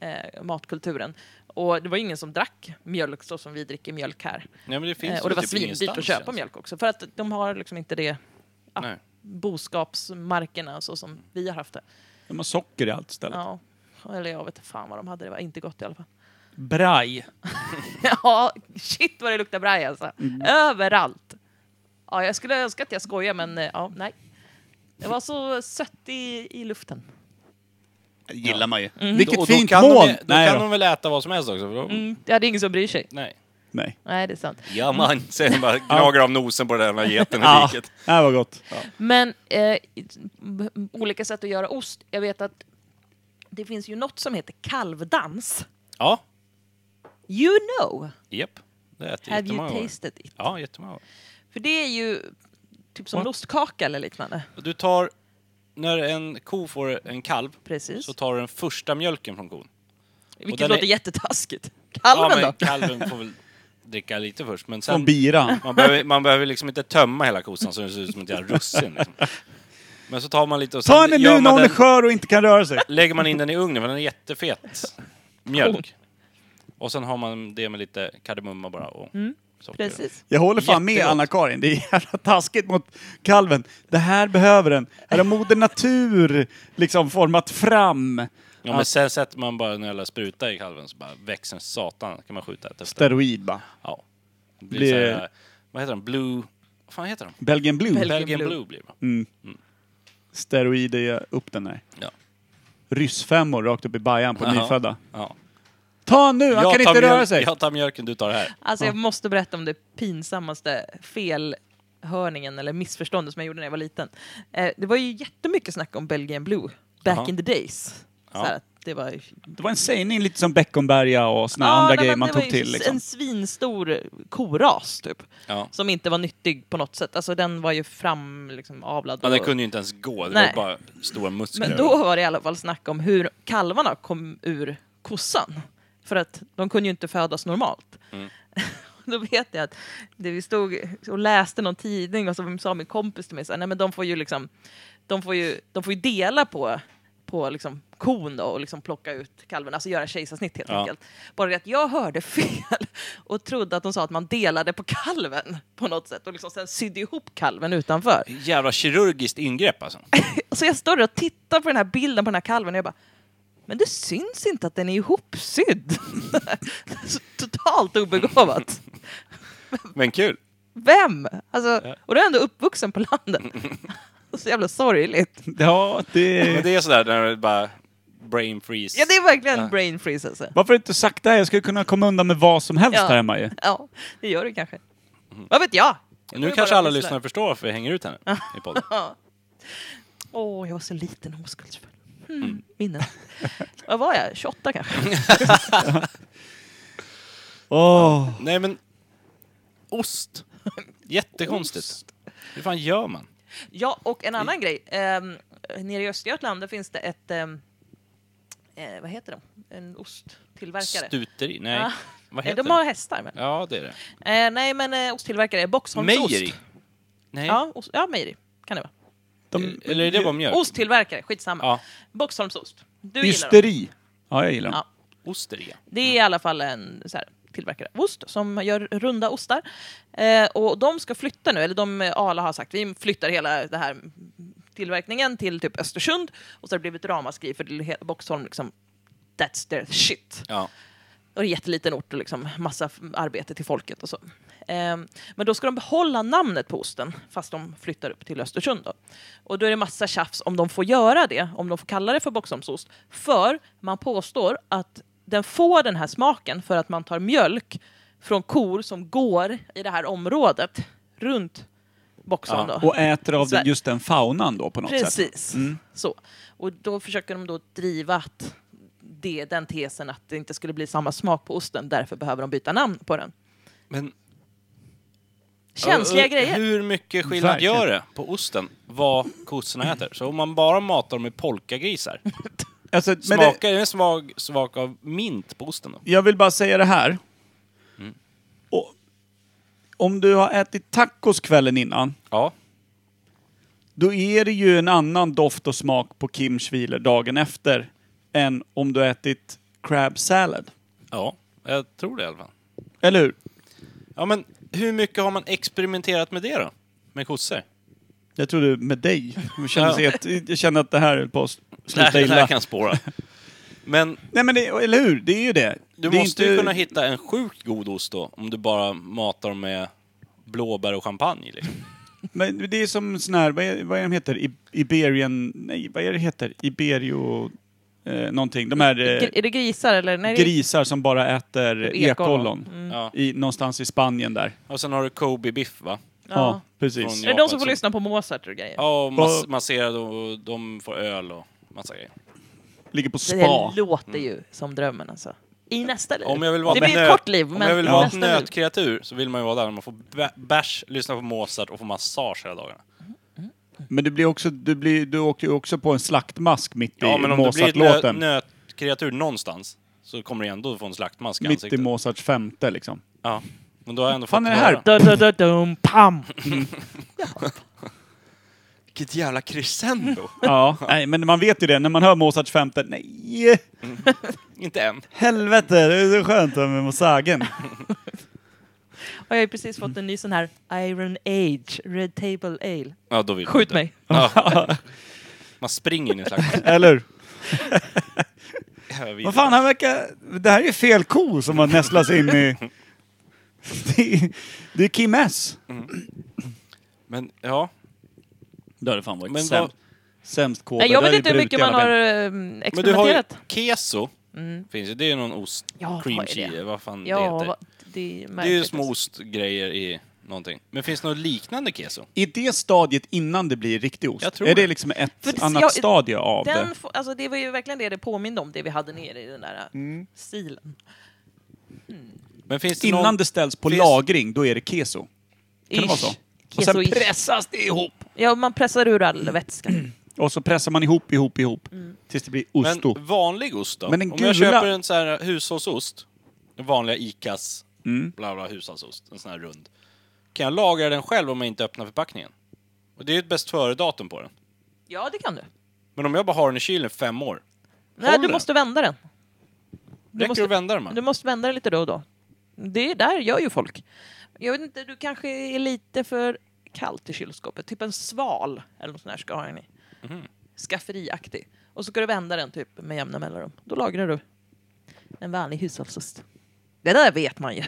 eh, matkulturen. Och det var ju ingen som drack mjölk så som vi dricker mjölk här.
Nej, men det finns
Eh, och det
väl
var
typ
svindyrt att
ingenstans,
köpa
känns det.
mjölk också. För att de har liksom inte det ja,
Nej.
boskapsmarkerna så som vi har haft det.
De har socker i allt istället.
Ja. Eller jag vet inte fan vad de hade, det var inte gott i alla fall.
Braj.
<laughs> Ja, shit vad det luktar braj alltså.
Mm.
Överallt. Ja, jag skulle önska att jag skojade, men eh, ja, nej. Det var så sött i, i luften.
gillar man ju.
Och då
Vilket fint
kan
mål!
De, då
Nej,
kan
då.
de väl äta vad som helst också? För då,
Det hade ingen som bryr sig.
Nej.
Nej.
Nej, det är sant.
Ja man, säger bara gnager av nosen på den här geten i
Ja,
riket.
det här var gott.
Men eh, i- b- olika sätt att göra ost. Jag vet att det finns ju något som heter kalvdans.
Ja,
You know,
japp. Det äter
have you
jättemånga gånger.
tasted it?
Ja, jättemånga gånger.
För det är ju typ som
What?
ostkaka eller liknande.
Du tar, när en ko får en kalv,
Precis.
så tar du den första mjölken från kon.
Vilket
den
låter
är-
jättetaskigt. Kalven
ja,
då?
men kalven får väl dricka lite först, men
Från
sen...
bira.
Man behöver, man behöver liksom inte tömma hela kossan så den ser ut som ett jävla russin. <laughs> Liksom. Men så tar man lite och sen
Ta henne
gör
nu
man
när hon är
den,
skör och inte kan röra sig.
lägger man in den i ugnen, för den är jättefet mjölk. Och sen har man det med lite kardemumma bara och socker.
Mm, Precis.
Jag håller fan med
Jättegott.
Anna-Karin. Det är jävla taskigt mot kalven. Det här behöver den. Här har Moder Natur liksom format fram
Ja, men sen sätter man bara en jävla spruta i kalven så bara växer en satan. kan man skjuta ett efter.
steroid bara.
Ja. Det blir
Blir-
så här, vad heter de? Blue... Vad fan heter de?
Belgian Blue.
Belgian
Belgian
Blue.
Blue, blir det va?
steroid är upp den där.
Ja.
Ryssfemmor rakt upp i bajan på
Jaha.
nyfödda.
ja.
Ta nu! Han
Jag
kan
tar
inte röra
mjölk-
sig!
Jag tar mjölken, du tar det här.
Alltså jag måste berätta om det pinsammaste felhörningen eller missförståndet som jag gjorde när jag var liten. Eh, det var ju jättemycket snack om Belgian Blue back
Jaha.
in the days. Så
Ja.
här, att det var
Det var en sägning lite som Beckomberga och såna
Ja,
andra
nej,
grejer
men
man
det
tog
var ju
till. Liksom.
En svinstor koras typ.
Ja.
Som inte var nyttig på något sätt. Alltså den var ju fram, liksom, avlad.
Ja, den
och-
kunde ju inte ens gå. Det
Nej.
var bara stora muskler.
Men då var det i alla fall snack om hur kalvarna kom ur kossan. För att de kunde ju inte födas normalt. <laughs> då vet jag att det vi stod och läste någon tidning och så sa min kompis till mig så här, nej men de får ju liksom, de får ju, de får ju dela på på liksom kon då och liksom plocka ut kalven, alltså göra kejsarsnitt helt
Ja.
enkelt. Bara det att jag hörde <laughs> fel och trodde att de sa att man delade på kalven på något sätt och liksom sen sydde ihop kalven utanför.
Jävla kirurgiskt ingrepp alltså.
Så jag står där och tittar på den här bilden på den här kalven och jag bara men det syns inte att den är ihopsydd. <laughs> Så Totalt obegåvat.
Men kul.
Vem? Alltså, och då är jag ändå uppvuxen på landet. <laughs> Så jävla sorgligt.
Ja,
Men
det...
det är sådär när det bara brain freeze.
Ja, det är verkligen brain freeze alltså.
Varför har du inte sagt det här? Jag skulle kunna komma undan med vad som helst
Ja.
här hemma ju.
Ja, det gör du kanske. Vad vet jag? jag
Nu
går
kanske
bara
alla
och pysslar.
lyssnare förstår varför vi hänger ut henne i
<laughs>
podden.
Åh, jag var så liten och oskuldsfull. Hmm, Minnen. Vad var jag? 28 kanske?
Åh,
Nej men, ost. Jättekonstigt. Hur fan gör man?
Ja, och en annan grej. Um, nere i Östergötland där finns det ett... ehm, eh, vad heter de? En osttillverkare.
Stuteri? Nej.
Ja.
Vad
Nej,
heter
de
det?
har hästar. Men.
Ja, det är det.
Eh, nej, men eh, osttillverkare. Boxholms
Mejeri?
ost.
Nej.
Ja, ost. ja, mejeri kan det vara.
de...
Eller är det bara mjölk?
Osttillverkare, skitsamma.
Ja.
Boxholmsost. Du gillar dem.
Ysteri. Ja, jag gillar dem.
Ja.
Osteri,
Det är i alla fall en så här, tillverkare av ost som gör runda ostar. Eh, och de ska flytta nu, eller de eh, Arla har sagt, vi flyttar hela det här tillverkningen till typ Östersund. Och så har det blivit ramaskri för det- Boxholm liksom, that's their shit.
Ja.
Och det är jätteliten ort och liksom massa f- arbete till folket och så. Ehm, men då ska de behålla namnet på osten fast de flyttar upp till Östersund. Då. Och då är det massa tjafs om de får göra det, om de får kalla det för Boxholmsost. För man påstår att den får den här smaken för att man tar mjölk från kor som går i det här området runt Boxholm. då.
Och äter av
Så-
just den faunan då på något sätt.
Precis.
Mm.
Så. Och då försöker de då driva att det, den tesen att det inte skulle bli samma smak på osten, därför behöver de byta namn på den.
Men,
Känsliga
Ja,
grejer.
Hur mycket skillnad
Verkligen.
gör det på osten vad kossorna äter? Så om man bara matar dem med polkagrisar,
Alltså, men det,
smakar det en svag smak av mint på osten då?
jag vill bara säga det här.
Mm.
Och, om du har ätit tacos kvällen innan,
Ja.
då är det ju en annan doft och smak på Kim Schwiler dagen efter än om du ätit crab salad.
Ja, jag tror det i alla fall.
Eller hur?
Ja, men hur mycket har man experimenterat med det då? Med kossor?
Jag trodde med dig. Jag kände,
Ja.
att, jag kände att det här höll på att
Det här,
sluta
det
illa.
här kan spåra. Men
Nej men det, eller hur? Det är ju det.
du
det är
måste ju kunna hitta en sjukt god ost då, om du bara matar dem med blåbär och champagne. Liksom.
Men det är som sån här, vad är, vad är de heter? I, Iberian... Nej, vad är det heter? Iberio... Eh, någonting. De här eh,
Gr- Är det grisar eller? Nej, det Mm. är-
grisar som bara äter
Ekollon.
ekollon.
Ja.
I, någonstans i Spanien där.
Och sen har du Kobe biff, va?
Ja, precis.
Är det de som får lyssna på Mozart och grejer?
alltså- Ja, och mas-
Och-
masserad och de får öl och massa grejer.
Ligger på
Det
spa.
där låter ju som drömmen alltså. I nästa liv.
Mm. Om jag vill vara
det blir ett
nöt-
kort liv,
om
men
jag vill
i
vara ett
nästa liv.
nötkreatur så vill man ju vara där när man får bä- bärs, lyssna på Mozart och få massage hela dagarna.
Men du, blir också, du, blir, du åker ju också på en slaktmask mitt
Ja,
i
men om du blir ett nö-
Mozart-låten.
nötkreatur någonstans så kommer du ändå få en slaktmask i
Mitt i
ansiktet.
Mozarts
<laughs>
femte liksom.
ja. Men då har jag ändå
Fan,
fått
är det här?
höra.
Da, da, da, dum,
Mm.
pam.
Vilket jävla crescendo!
Ja, nej, men man vet ju det. När man hör Mozarts femte, nej,
<laughs> Inte än.
helvete, det är så skönt
<laughs>
med Mozagen.
Och jag har ju precis fått en ny sån här Iron Age Red Table Ale.
Ja, då vill du
Skjut
inte.
mig.
Ja. Man springer in i en slaktmask.
Eller hur?
Jag vet
Vad fan,
inte.
han verkar... Det här är ju fel ko som har nästlats in <laughs> i... Det är, det är Kim S.
Men ja,
Det hade fan varit
Men vad-
sämst. Sämst kåda.
Nej, jag
Det
vet
hade
inte hur
brutit
mycket
hela
man har
ben.
eh,
men du har ju
experimenterat.
keso. Finns ju. Det är ju någon ost,
Ja,
cream
vad är det?
cheese, vad fan det
Ja,
heter.
vad- det är
Det är ju
märkligt. alltså.
små ostgrejer i någonting. Men finns det något liknande keso?
I det stadiet innan det blir riktig ost?
Jag tror
är det
det.
liksom ett
För det-
annat
jag-
stadie av
Den
det?
få, alltså det var ju verkligen det det påminde om, det vi hade nere i den där mm. stilen.
Men finns det
Innan
någon...
det ställs på
finns-
lagring, då är det keso. Kan det vara
Ish.
så? Och sen
Keso-ish.
pressas det ihop.
Ja, man pressar ur all
<clears throat>
vätska.
Och så pressar man ihop, ihop, ihop.
Mm.
Tills det blir
<laughs>
osto.
Men vanlig ost då?
Men den
Om jag
gula-
köper en sån här hushållsost, den vanliga ICAs bla bla hushållsost, en sån här rund. Kan jag lagra den själv om jag inte öppnar förpackningen? Och det är ju ett bäst före-datum på den.
Ja, det kan du.
Men om jag bara har den i kylen i fem år,
Nej, du
Håller.
måste vända den.
räcker
måste-
det att vända den? va?
Du måste vända den lite då och då. Det är där gör ju folk. Jag vet inte, du kanske är lite för kallt i kylskåpet. Typ en sval eller något sånt där ska ha den i. Skafferiaktig. Och så ska du vända den typ med jämna mellanrum. Då lagrar du en vanlig hushållsost. Det där vet man ju.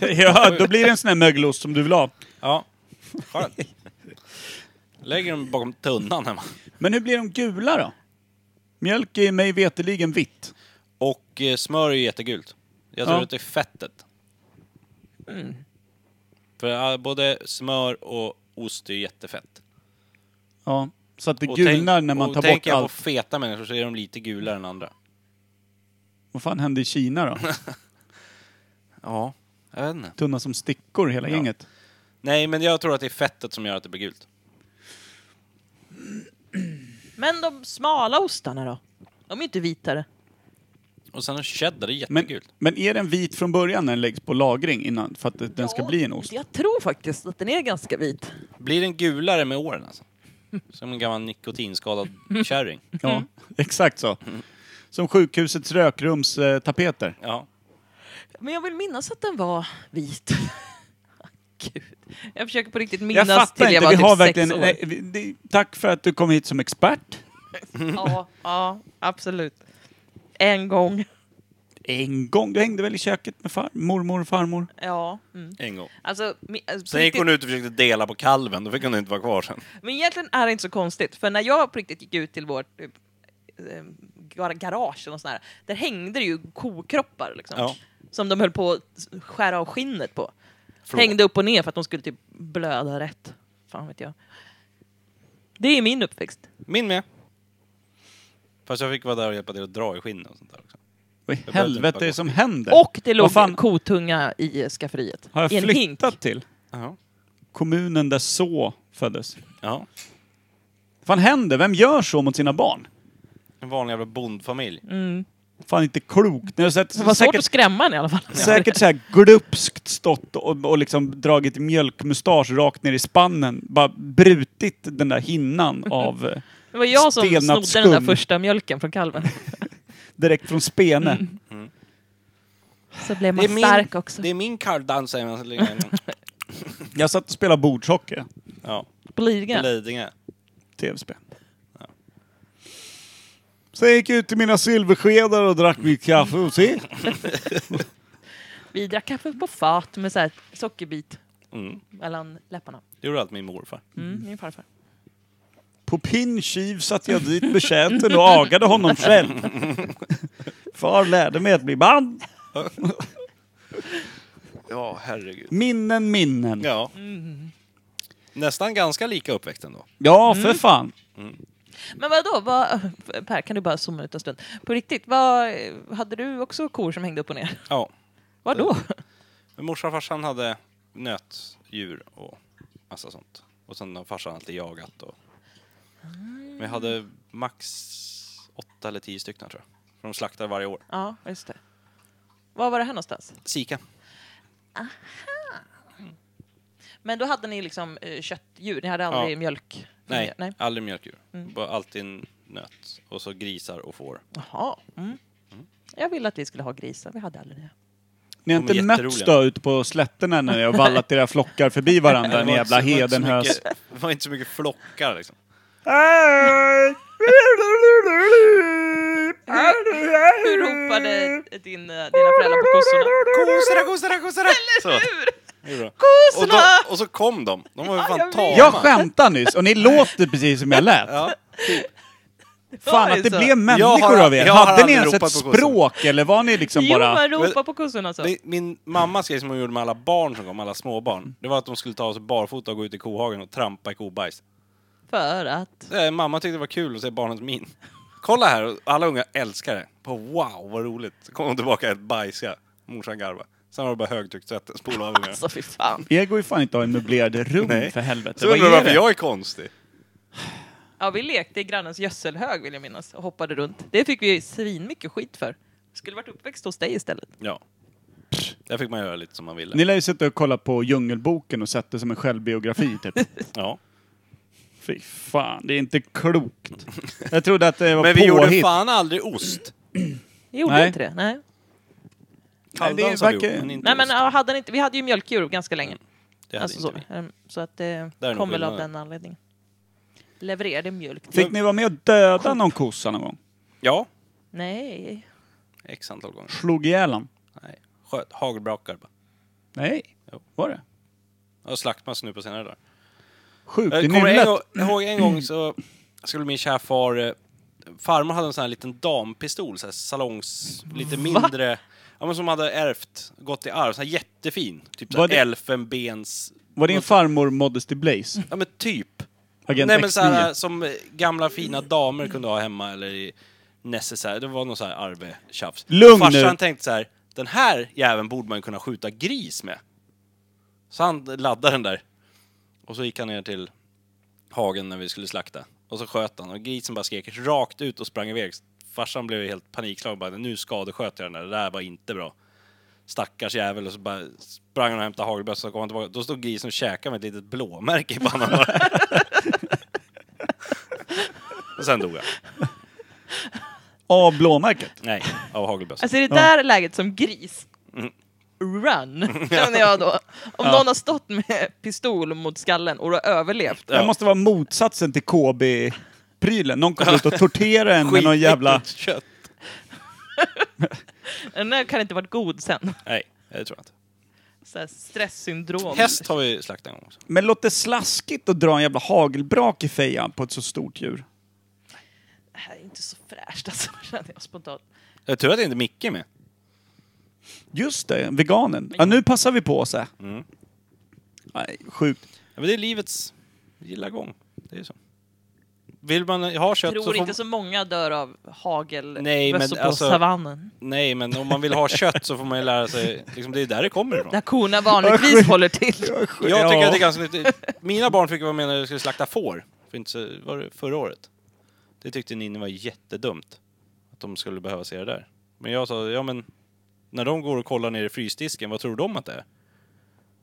ja, <laughs> då blir det en sån här mögelost som du vill ha.
Ja, skönt. <laughs> Lägger dem bakom tunnan hemma.
Men hur blir de gula då? Mjölk är mig veterligen vitt.
Och eh, smör är ju jättegult. Jag tror
Ja.
att det är fettet.
Mm.
För eh, både smör och ost är ju jättefett.
Ja, så att det
Och
gulnar
tänk-
när man
och
tar bort
tänker jag
allt.
på feta människor så är de lite gulare än andra.
Vad fan hände i
<laughs>
Kina då?
Ja, jag vet inte.
Tunna som stickor hela
Ja.
gänget.
Nej, men jag tror att det är fettet som gör att det blir gult.
Men de smala ostarna då? De är ju inte vitare.
Och sen är cheddar, det är
Men,
jättegult.
men är den vit från början när den läggs på lagring innan för att den ska
Ja,
bli
<laughs>
en ost?
Jag tror faktiskt att den är ganska vit.
Blir den gulare med åren alltså? Som en gammal
<laughs>
nikotinskadad kärring.
Ja, exakt så.
Mm.
Som sjukhusets rökrums eh, tapeter.
Ja.
Men jag vill minnas att den var vit. <laughs> Gud. Jag försöker på riktigt
Jag
minnas
fattar
till jag
inte,
var
vi
typ
har
sex
verkligen...
år.
nej, vi- det- tack för att du kom hit som expert.
Ja, ja, absolut. En gång.
En gång? Du hängde väl i köket med far, mormor och farmor?
Ja. Mm.
En gång.
Alltså, mi- alltså,
Sen
på
gick hon
riktigt-
ut och försökte dela på kalven, då fick hon inte vara kvar sen.
Men egentligen är det inte så konstigt, för när jag på riktigt gick ut till vårt eh, eh, gar- garage och sånt där, där hängde det ju kokroppar liksom.
Ja.
Som de höll på att skära av skinnet på.
Förlåt.
Hängde upp och ner för att de skulle typ blöda rätt. Fan vet jag. Det är min uppväxt.
Min med. Fast jag fick vara där och hjälpa till att dra i skinnen och sånt där också.
Vad i
behövde
helvete
bara
är det
gå.
som händer?
Och det låg
Vad fan
en kotunga i skafferiet.
har jag
I en hink.
flyttat till?
Jaha.
Kommunen där så föddes.
Ja.
Vad fan händer? Vem gör så mot sina barn?
En vanlig jävla bondfamilj.
Mm,
Fan inte klokt. Ni har sett,
Det var svårt
säkert,
att skrämma den i alla fall.
säkert så här glupskt stått och, och liksom dragit mjölkmustasch rakt ner i spannen. Bara brutit den där hinnan av eh,
Det var jag som
stelnat
snodde den där
skum.
första mjölken från kalven.
direkt från spene.
Så blev man stark också.
det är min kardan säger man så
<laughs>
länge.
Jag satt och spelade bordshockey.
Ja.
På
På
Lidingö.
Lidingö.
Tv-spel. Så jag gick ut till mina silverskedar och drack mitt kaffe och se.
Vi drack kaffe på fat med så här sockerbit
Mm.
mellan läpparna.
Det gjorde allt min morfar.
Mm, min farfar.
På pinnkiv satte jag dit betjänten och agade honom <laughs> själv. Far lärde mig att bli man.
Ja, herregud.
Minnen, minnen. Ja,
Ja.
Mm.
Nästan ganska lika uppväxt ändå.
för fan.
Men vadå, vad, <laughs> Per kan du bara zooma ut en stund. På riktigt, vad, hade du också kor som hängde upp
<laughs>
och ner?
Ja.
Vad då?
Men morsan och farsan hade nötdjur och massa sånt. Och sen har farsan alltid jagat och... Men jag hade max åtta eller tio stycken tror jag. För de slaktar varje år.
Ja, just det. Var var det här någonstans?
Sika.
Men då hade ni liksom eh, köttdjur, ni hade aldrig
Ja.
mjölk?
Nej,
Nej.
aldrig mjölkdjur. Bara alltid en nöt. Och så grisar och får.
Jaha. Mm. Jag ville att vi skulle ha grisar, vi hade aldrig det.
Ni har
De är
inte mötts
jätteroliga.
då ute på slätterna när ni har vallat era flockar förbi varandra,
<laughs> Det
en
var
jävla
inte så- det var inte så
hedenhös.
mycket- Det var inte så mycket flockar liksom.
Hur ropade din, eh, dina föräldrar på kossorna?
Kossorna, kossorna, kossorna! Så. Det är bra. Och,
Kossorna!
då, och så kom de. De var ju fan tama.
Jag skämtade nyss och ni låter precis som jag lät.
Ja.
Fan
Ja,
att det
så.
blev
Jag
människor
har-
av er.
jag har
Hade ni
aldrig
ens
ropat
ett
på kossor.
språk eller var ni liksom
Jo,
bara...
man ropar på kossorna så.
Min- Min mammas grej som hon gjorde med alla barn som kom, alla småbarn, det var att de skulle ta oss barfota och gå ut i kohagen och trampa i kobajs.
För att...
Eh, Mamma tyckte det var kul att se barnens min. Kolla här, och alla unga älskar det. På wow, vad roligt. Så kom de tillbaka ett bajsiga. Morsan garva. Sen var det bara högtryckstvätten, spola av ungarna.
Alltså fy fan.
Jag går ju fan inte att ha en möblerade rum
Nej.
för helvete.
Så
Vad
undrar du
är
varför
det?
jag är konstig?
Ja, vi lekte i grannens gödselhög vill jag minnas och hoppade runt. Det fick vi svinmycket skit för. Skulle varit uppväxt hos dig istället.
Ja. Där fick man göra lite som man ville.
Ni lär ju sitta och kolla på Djungelboken och sett det som en självbiografi
<laughs>
typ.
Ja.
Fy fan, det är inte klokt. Jag trodde att det var
Men vi gjorde
påhitt.
fan aldrig ost.
Vi gjorde
Nej.
inte det. Nej,
Nej, det
Kalvdans har vi
verkar-
gjort, men inte
Nej men
ost.
ja, hade ni inte, vi hade ju mjölkdjur ganska länge.
Det hade
Alltså, så,
inte vi.
Ehm, så att det
Där är nog
kom väl av
skillnaden.
den anledningen. Levererade mjölk till...
Fick ni vara med och döda någon kossa någon gång?
Ja,
Nej.
x antal gånger.
Slog ihjäl han?
Nej. Sköt, hagelbrakar bara.
Nej.
Jo.
Var det?
Och slaktmass nu på senare dagar.
Sjukt i
Jag Eh, kommer en
nyllet.
gång, jag ihåg en
<clears throat>
gång så skulle min kära far... eh, Farmor hade en sån här liten dampistol, så här salongs... Lite mindre... Ja, men som hade ärvt, gått i arv. Så här jättefin. Typ så
Var
här
det-
elfenbens...
Var din farmor Modesty Blaze?
Ja men typ.
Agent
Nej men
X9?
så här, som eh, gamla fina damer kunde ha hemma eller i necessär. Det var någon så här arvetjafs.
Lugn
Farsan
nu.
tänkte så här, den här jäveln borde man kunna skjuta gris med. Så han laddade den där. Och så gick han ner till hagen när vi skulle slakta. Och så sköt han och grisen bara skrek rakt ut och sprang iväg. Farsan blev ju helt panikslagen och bara, nu skadesköt jag den där, det där var inte bra. Stackars jävel. Och så bara sprang han och hämtade hagelbössan och så kom han tillbaka. Då stod grisen och käkade med ett litet blåmärke i pannan bara. Och sen dog jag.
Av blåmärket?
Nej, av hagelbössan.
Alltså i det där läget som gris.
Mm. <laughs>
Run, <laughs> känner jag då. Om någon har stått med pistol mot skallen och du har överlevt.
Det måste vara motsatsen till KB-prylen. Någon kom ut och torterade en med någon
Skitäckligt
jävla...
kött.
Den där kan inte varit god sen.
Nej, det tror jag inte.
Så här stresssyndrom.
Häst har vi slaktat en gång också.
Men låter slaskigt att dra en jävla hagelbrak i fejan på ett så stort djur.
Det här är inte så fräscht alltså, <laughs> känner jag spontant.
Det är tur att det inte är Micke med.
Just det, veganen. Ja, nu passar vi på så. här.
Mm.
Nej, sjukt.
Ja, men det är livets gilla gång. Det är ju så. Vill man ha kött
Jag tror
så får
inte så många dör av
Nej, men
hagelbössor på
alltså-
savannen.
Nej, men om man vill ha kött så får man ju lära sig. Liksom, det är där det kommer ifrån.
Där
<laughs>
korna vanligtvis håller till.
Jag tycker att det är ganska nyttigt. Mina barn fick vara med när de skulle slakta får. För inte så, var det förra året? Det tyckte Ninni var jättedumt. Att de skulle behöva se det där. Men jag sa, ja men när de går och kollar ner i frysdisken, vad tror de att det är?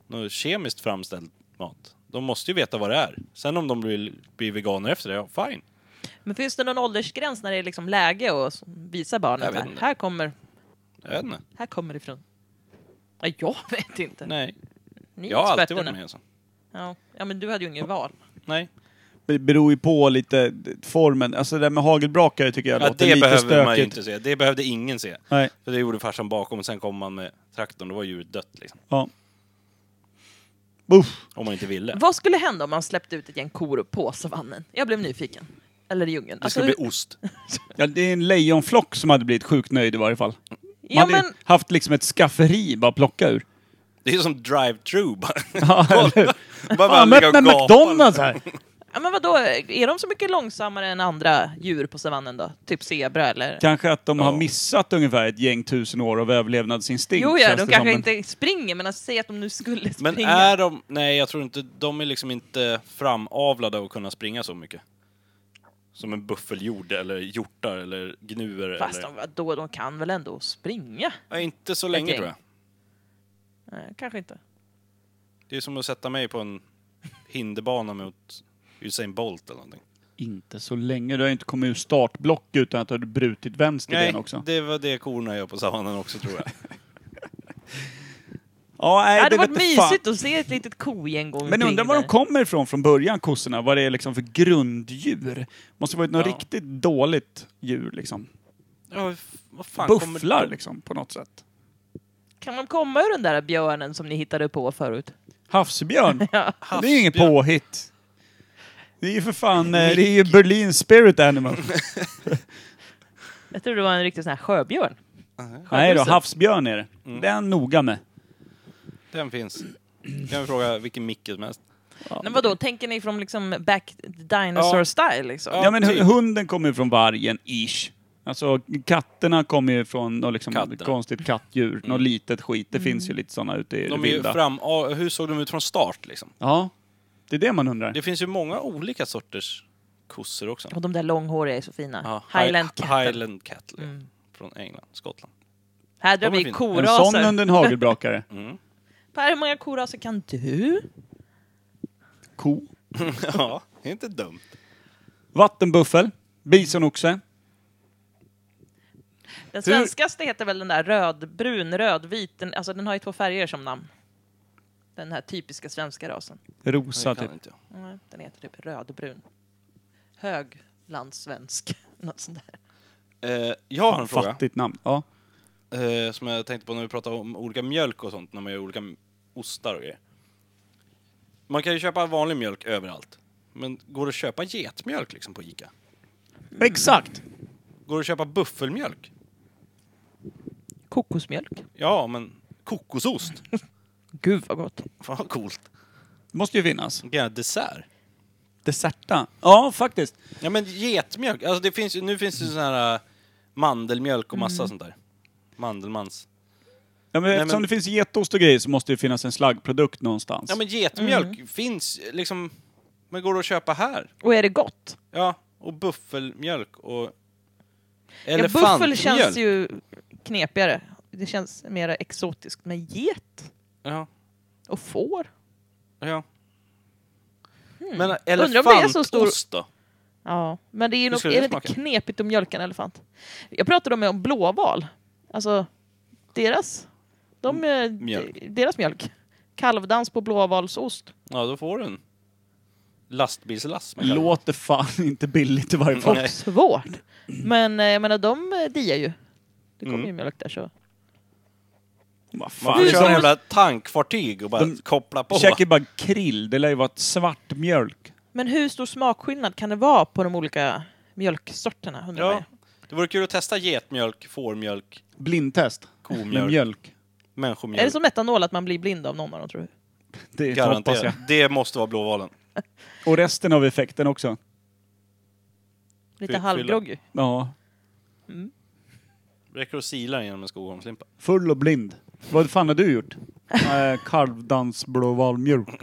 Något kemiskt framställd mat. De måste ju veta vad det är. Sen om de blir, blir veganer efter det, ja fine.
Men finns det någon åldersgräns när det är liksom läge att visa
Jag
barnet
vet
här,
inte.
här kommer,
Jag vet inte.
här kommer det ifrån? Ja, jag vet inte.
Nej,
Ni är
jag har alltid
experterna.
varit med så.
Ja. ja, men du hade ju ingen val.
Nej,
Det beror ju på lite d- formen. Alltså det där med hagelbrakare tycker jag
ja,
låter
det
lite
behöver
stökigt.
man ju inte se. Det behövde ingen se.
Nej,
För det gjorde farsan bakom och sen kom man med traktorn, då var djuret dött liksom.
ja. Uff.
Om man inte ville.
Vad skulle hända om man släppte ut ett gäng kor på savannen? Jag blev nyfiken. Eller i djungeln. Alltså,
Det skulle bli ost.
Ja, det är en lejonflock som hade blivit sjukt nöjd i varje fall. Man
ja,
hade ju
men,
haft liksom ett skafferi bara att plocka
<laughs>
ur.
Det är som drive-through bara.
<laughs> Ja, eller hur?
Bara- bara
Fan,
ligga och
öppna
gapa. <laughs>
McDonalds här!
ja, men vadå, är de så mycket långsammare än andra djur på savannen då? Typ zebra eller?
Kanske att de har
Ja.
missat ungefär ett gäng tusen år av överlevnadsinstinkt.
Jo, ja,
känns
de
det
kanske
som.
inte springer, men alltså, säg att de nu skulle springa.
Men är de... Nej, jag tror inte... De är liksom inte framavlade att kunna springa så mycket. Som en buffeljord eller hjortar eller gnuer
Fast
eller...
de, då, de kan väl ändå springa?
Ja, inte så länge
Okej.
tror jag.
Nej, kanske inte.
Det är som att sätta mig på en hinderbana mot Usain Bolt eller någonting.
Inte så länge. Du har ju inte kommit ur startblock utan att du har brutit vänster
Nej,
ben också.
det var det korna gör på savannen också tror jag.
Ja, nej,
det hade varit
vete fan.
mysigt att se ett litet kogäng gå
Men
omkring
undrar var de
där.
kommer ifrån från början, kossorna. Vad det är liksom för grunddjur. Måste varit något
Ja.
riktigt dåligt djur liksom.
Ja, vad fan
Bufflar liksom på något sätt.
Kan de komma ur den där björnen som ni hittade på förut?
Havsbjörn.
Ja.
Det är ju inget påhitt. Det är ju för fan, eh, det är ju Berlin
<laughs>
Spirit Animal.
Jag tror det var en riktig sån här sjöbjörn.
Nej då,
Sjöbussen.
havsbjörn är det.
Mm.
Det är han noga med.
Den finns. Kan vi fråga vilken micke som helst.
Men vadå, tänker ni från liksom back dinosaur
Ja.
style liksom?
Ja.
Ja men hu-
typ.
hunden kommer ju från vargen, ish. Alltså katterna kommer ju från något liksom
Katterna.
konstigt kattdjur, något litet skit. Det finns ju lite sådana ute i det
Mm. De är ju
vilda.
fram... ja, Hur såg de ut från start liksom?
Ja, det är det man undrar.
Det finns ju många olika sorters kossor också.
Och de där långhåriga är så fina.
Hi-
Highland Cattle.
Highland Cattle, ja. Från England, Skottland.
Här drar
De är
vi
fina.
En sån
koraser.
under en
<laughs>
hagelbrakare.
Mm.
Per, hur många koraser kan du?
Ko.
ja, det är inte dumt.
Vattenbuffel. Bisonoxe.
Den svenskaste heter väl den där rödbrun, rödvit. Den, alltså den har ju två färger som namn. Den här typiska svenska rasen.
Rosa
Det
typ.
kan inte jag.
Nej, Den heter typ rödbrun. Höglandssvensk. <laughs> Något sånt där.
Eh, jag har en fråga
Fattigt namn. Ja.
eh, som jag tänkte på när vi pratade om olika mjölk och sånt, när man gör olika m- ostar och grejer. Man kan ju köpa vanlig mjölk överallt. Men går det att köpa getmjölk liksom på Ica?
Exakt!
Går det att köpa buffelmjölk?
Kokosmjölk.
Ja, men kokosost? <laughs>
Gud vad gott.
Fan vad coolt.
Det måste ju finnas.
Vilken jävla dessert.
Deserta. Ja, faktiskt.
Ja men getmjölk, alltså det finns, ju- nu finns det ju sån här äh, mandelmjölk och massa sånt där. Mandelmans.
Ja, men eftersom
men-
det finns getost och grejer så måste det ju finnas en slaggprodukt någonstans.
Ja men getmjölk finns liksom, men går det att köpa här?
Och är det gott?
Ja, och buffelmjölk och
Ja, buffel
elefantmjölk.
känns ju knepigare. Det känns mer exotiskt. Men get
Ja,
och får?
ja. Men
Hmm. Undrar om det är så stor-
elefantost då?
Ja, men det är, nog, är
skulle
det
det
inte
smaka?
knepigt att mjölka en elefant? Jag pratade om, om blåval. Alltså, deras, de, eh,
mjölk.
de- deras mjölk. Kalvdans på blåvalsost.
Ja, då får du en lastbilslass. man kallar det.
Låter fan <laughs> inte billigt i
Mm.
varje fall.
Och svårt. Men eh, jag menar, de eh, diar ju. Det kommer
Mm.
ju mjölk där så.
Vad
Man
fan.
får köra
de-
jävla tankfartyg och bara
De-
koppla på.
Käkar bara krill. Det lär ju vara ett svart mjölk.
Men hur stor smakskillnad kan det vara på de olika mjölksorterna? undrar
Ja.
jag?
Det vore kul att testa getmjölk, fårmjölk,
Blindtest. Med
komjölk,
mjölk.
människomjölk.
Är det som metanol att man blir blind av någon av dem tror du?
Det hoppas jag.
Garanterat. Det måste vara blåvalen.
Och resten av effekten också.
Lite
Utfylla.
halvgroggy.
Ja.
Räcker att sila den genom en skohornslimpa.
Full och blind. Vad fan har du gjort? äh, Kalvdansblåvalmjölk.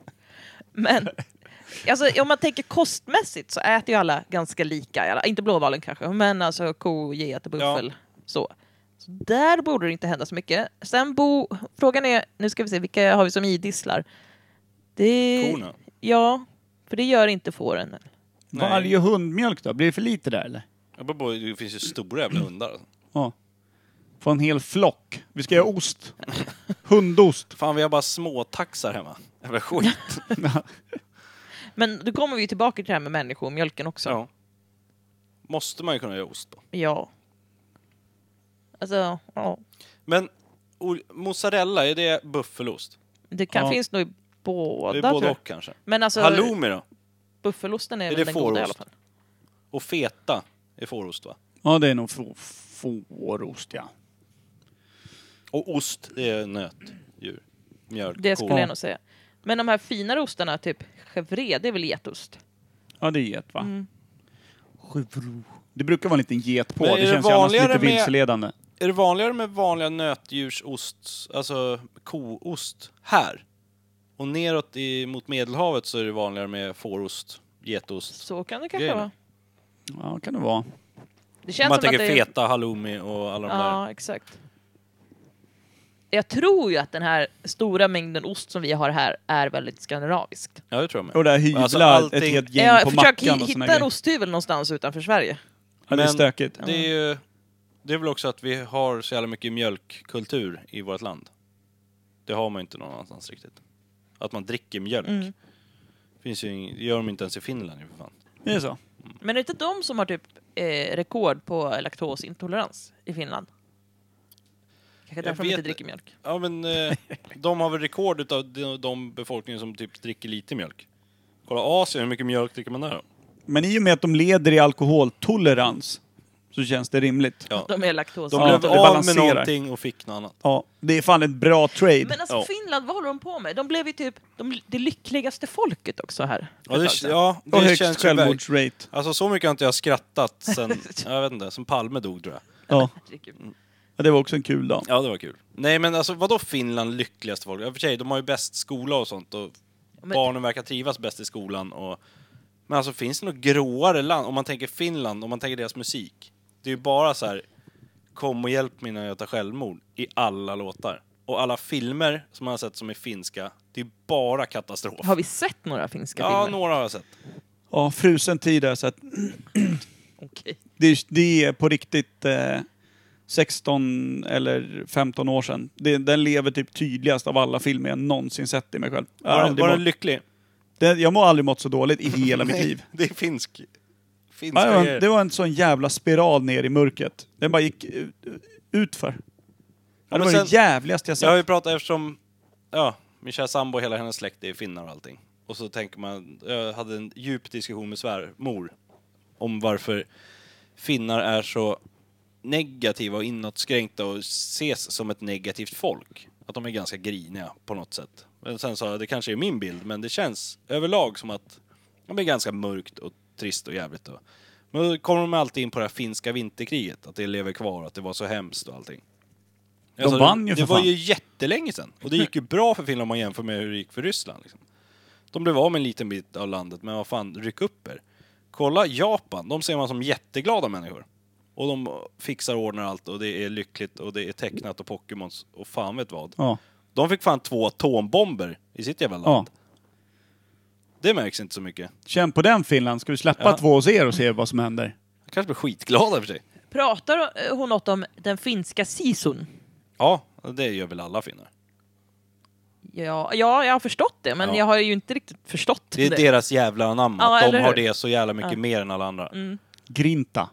<laughs> Men alltså, om man tänker kostmässigt så äter ju alla ganska lika. Eller, inte blåvalen kanske, men alltså ko, get, buffel. Så. så där borde det inte hända så mycket. Sen bo, frågan är, nu ska vi se, vilka har vi som idisslar? Det,
Korna.
Ja, för det gör inte fåren.
Nej.
Varje hundmjölk då? Blir det för lite där eller?
Jag bara, bara- det finns ju stora jävla hundar. alltså.
Ja. Få en hel flock. Vi ska göra
<laughs>
ost. Hundost.
Fan, vi har bara småtaxar hemma. Jävla skit.
Men då kommer vi ju tillbaka till det här med människor och mjölken också.
ja. Måste man ju kunna göra ost på.
Ja. Alltså, ja.
Men ol- mozzarella, är det buffelost?
Det kan,
Ja.
finns nog i båda.
Det är
tror
både
jag.
och kanske.
Men alltså,
Halloumi då?
buffelosten är,
Är
väl
det
den goda i alla
fårost?
fall.
Och feta är fårost va?
Ja, det är nog få- fårost ja.
Och ost, det är nötdjur. Mjölk,
Det skulle
ko.
jag nog säga. Men de här finare ostarna, typ chèvre, det är väl getost?
Ja, det är get va?
Mm.
Chevro. Det brukar vara en liten get på.
Men är
Det
det
känns ju annars lite
vanligare med-
vilseledande.
Är det vanligare med vanliga nötdjursost, alltså koost, här? Och neråt i, mot Medelhavet så är det vanligare med fårost, getost.
Så kan det kanske
Grejen.
vara.
Ja, kan det vara.
Det
Om
känns
man
som att
tänker
det är...
feta, halloumi och alla de där.
Ja, exakt. Jag tror ju att den här stora mängden ost som vi har här är väldigt skandinaviskt.
Ja, det tror jag med.
Och där hyvlar
Alltså, allting-
ett helt gäng
Jag
på
försöker
mackan
hi-
och såna
hitta en
grejer.
osthyvel någonstans utanför Sverige.
Ja, det är
Men
stökigt.
Det är ju... Det är väl också att vi har så jävla mycket mjölkkultur i vårt land. Det har man ju inte någon annanstans riktigt. Att man dricker mjölk.
Mm.
Finns ju ing, det gör de inte ens i Finland ju för fan.
Det är så.
Men är det inte de som har typ eh, rekord på laktosintolerans i Finland? Kanske därför de
vet-
inte dricker mjölk.
Ja men
<laughs>
eh, de har väl rekord utav de, de befolkningen som typ dricker lite mjölk. Kolla Asien, hur mycket mjölk dricker man där då?
Men i och med att de leder i alkoholtolerans så känns det rimligt.
Ja.
De är
De
laktosintoleranta.
Ja, det
blev av med
balanserar.
någonting och fick något annat.
Ja, det är fan ett bra trade.
Men alltså
Ja.
Finland, vad håller de på med? De blev ju typ de, det lyckligaste folket också här. för
Ja
ett
det,
tag sedan.
ja,
och
det
högst
känns ju verkligen.
självmordsrate.
Alltså så mycket har inte jag skrattat sen, <laughs> jag vet inte, sen Palme dog tror jag.
Ja.
Herregud.
ja, det var också en kul dag.
Ja, det var kul. Nej, men alltså vadå Finland lyckligaste folk? Ja, för sig, de har ju bäst skola och sånt och
men-
barnen verkar trivas bäst i skolan och... Men alltså finns det något gråare land? Om man tänker Finland, om man tänker deras musik. Det är ju bara så här, kom och hjälp mig när jag tar självmord i alla låtar. Och alla filmer som man har sett som är finska, det är bara katastrof.
Har vi sett några finska
Ja,
filmer?
några har jag sett.
Ja, frusen tid där, så att
Okej.
det, är- det är på riktigt eh, 16 eller 15 år sedan. Det, den lever typ tydligast av alla filmer jag någonsin sett i mig själv. Jag, har
Var, den-
aldrig
var den
mått-
lycklig?
den, jag må aldrig mått så dåligt i
<laughs>
hela mitt liv.
Det är finsk. Finska
Ja, det, var
grejer.
en, det var en sån jävla spiral ner i mörkret. Den bara gick ut- utför. Ja, det
men
var det
sen-
jävligaste jag sett.
Jag har ju pratat eftersom, ja, min kära sambo och hela hennes släkt är finnar och allting. Och så tänker man, jag hade en djup diskussion med svärmor om varför finnar är så negativa och inåtskränkta och ses som ett negativt folk. Att de är ganska griniga på något sätt. Men sen sa jag, det kanske är min bild, men det känns överlag som att de är ganska mörkt och trist och jävligt. Och, men då kommer de alltid in på det här finska vinterkriget, att det lever kvar, att det var så hemskt och allting. Jag
De
sa,
vann ju
Det,
för
det var
fan.
ju jättelänge sedan. Och det gick ju bra för Finland om man jämför med hur det gick för Ryssland. Liksom. De blev av med en liten bit av landet, men vad fan, ryck upp er. Kolla Japan, de ser man som jätteglada människor. Och de fixar och ordnar allt och det är lyckligt och det är tecknat och Pokémons och fan vet vad.
Ja.
De fick fan två atombomber i sitt jävla
Ja.
land. Det märks inte så mycket.
Känn på den Finland. Ska vi släppa
Ja.
två hos er och se vad som händer?
De kanske blir skitglada i och för sig.
Pratar hon något om den finska sisun?
Ja, det gör väl alla finnar.
Ja, ja, jag har förstått det, men
Ja.
jag har ju inte riktigt förstått
Det är deras jävla anamma,
Ja,
att de
eller
har
hur? Mm.
det så jävla mycket mer än alla andra.
Grinta.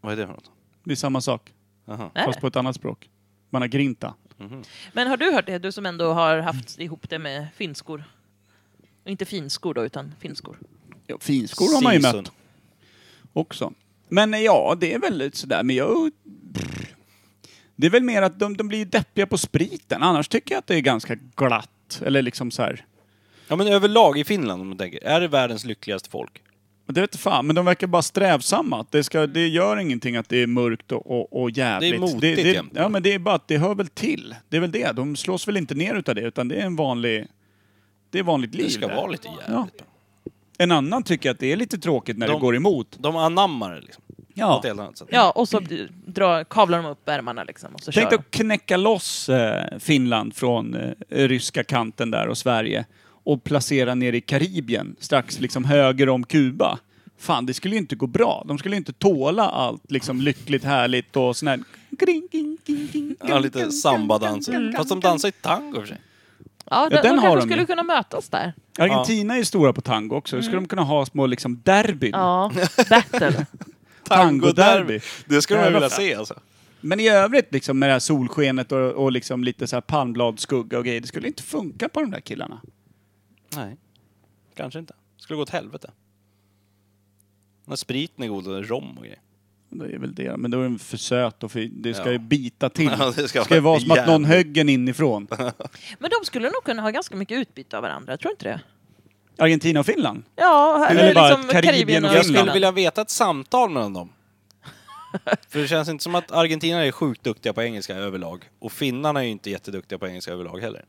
Vad är det för något?
Det är samma sak,
Aha.
Nej.
fast på ett annat språk. Man har grinta.
Men har du hört det, du som ändå har haft ihop det med finskor? Och Inte finskor då, utan finskor.
Ja, finskor har man ju
Season.
mött också. Men eh, ja, det är väl lite sådär, men jag... pff. Det är väl mer att de, de blir ju deppiga på spriten, annars tycker jag att det är ganska glatt. Eller liksom så här.
Ja men överlag i Finland om man tänker, är det världens lyckligaste folk?
Det vet fan, men de verkar bara strävsamma. Att Det, ska, det gör ingenting att det är mörkt och, och, och jävligt.
Det är motigt
det, det,
jämt.
Ja, men det är bara att det hör väl till. Det är väl det. De slås väl inte ner utav det, utan det är en vanlig... Det är vanligt liv
Det ska
där.
vara lite jävligt.
Ja. En annan tycker att det är lite tråkigt när det
De-
går emot.
De anammar det liksom. På
Ja.
ett helt annat sätt.
Ja, och så dra, kavlar de upp ärmarna liksom. Och så
Tänk
kör.
dig att knäcka loss eh, Finland från eh, ryska kanten där och Sverige och placera ner i Karibien, strax liksom höger om Kuba. Fan, det skulle ju inte gå bra. De skulle ju inte tåla allt liksom lyckligt, härligt och sån här... Kring, kring, kring, kring,
Ja, lite sambadanser. Fast de dansar i tango i och för sig.
Ja,
Ja,
de,
den
de
har
kanske
de ju.
skulle kunna mötas där.
Argentina är ju stora på tango också. Hur skulle de kunna ha små liksom derbyn?
Ja, battle.
Tangoderby.
Det skulle man
Jävla
vilja
fan.
se alltså.
Men i övrigt liksom med det här solskenet och, och liksom lite så här palmbladsskugga och grejer, det skulle inte funka på de där killarna.
Nej. Kanske inte. Skulle gå åt helvete. När spriten är god och det är rom och grejer.
Det är väl det, men då är den för söt och för, det ska
Ja.
ju bita till.
<laughs> Ja, det
det
ska
ska, ju
vara
vara som att någon
jävligt.
högg
<laughs>
en inifrån.
Men de skulle nog kunna ha ganska mycket utbyte av varandra, tror du inte det?
Argentina och Finland?
Ja,
Eller
eller,
bara
liksom
Karibien
Karibien,
och
och
Jag
Finland.
skulle
Finland.
vilja veta ett samtal mellan dem. <laughs> För det känns inte som att argentinare är sjukt duktiga på engelska överlag. Och finnarna är ju inte jätteduktiga på engelska överlag heller.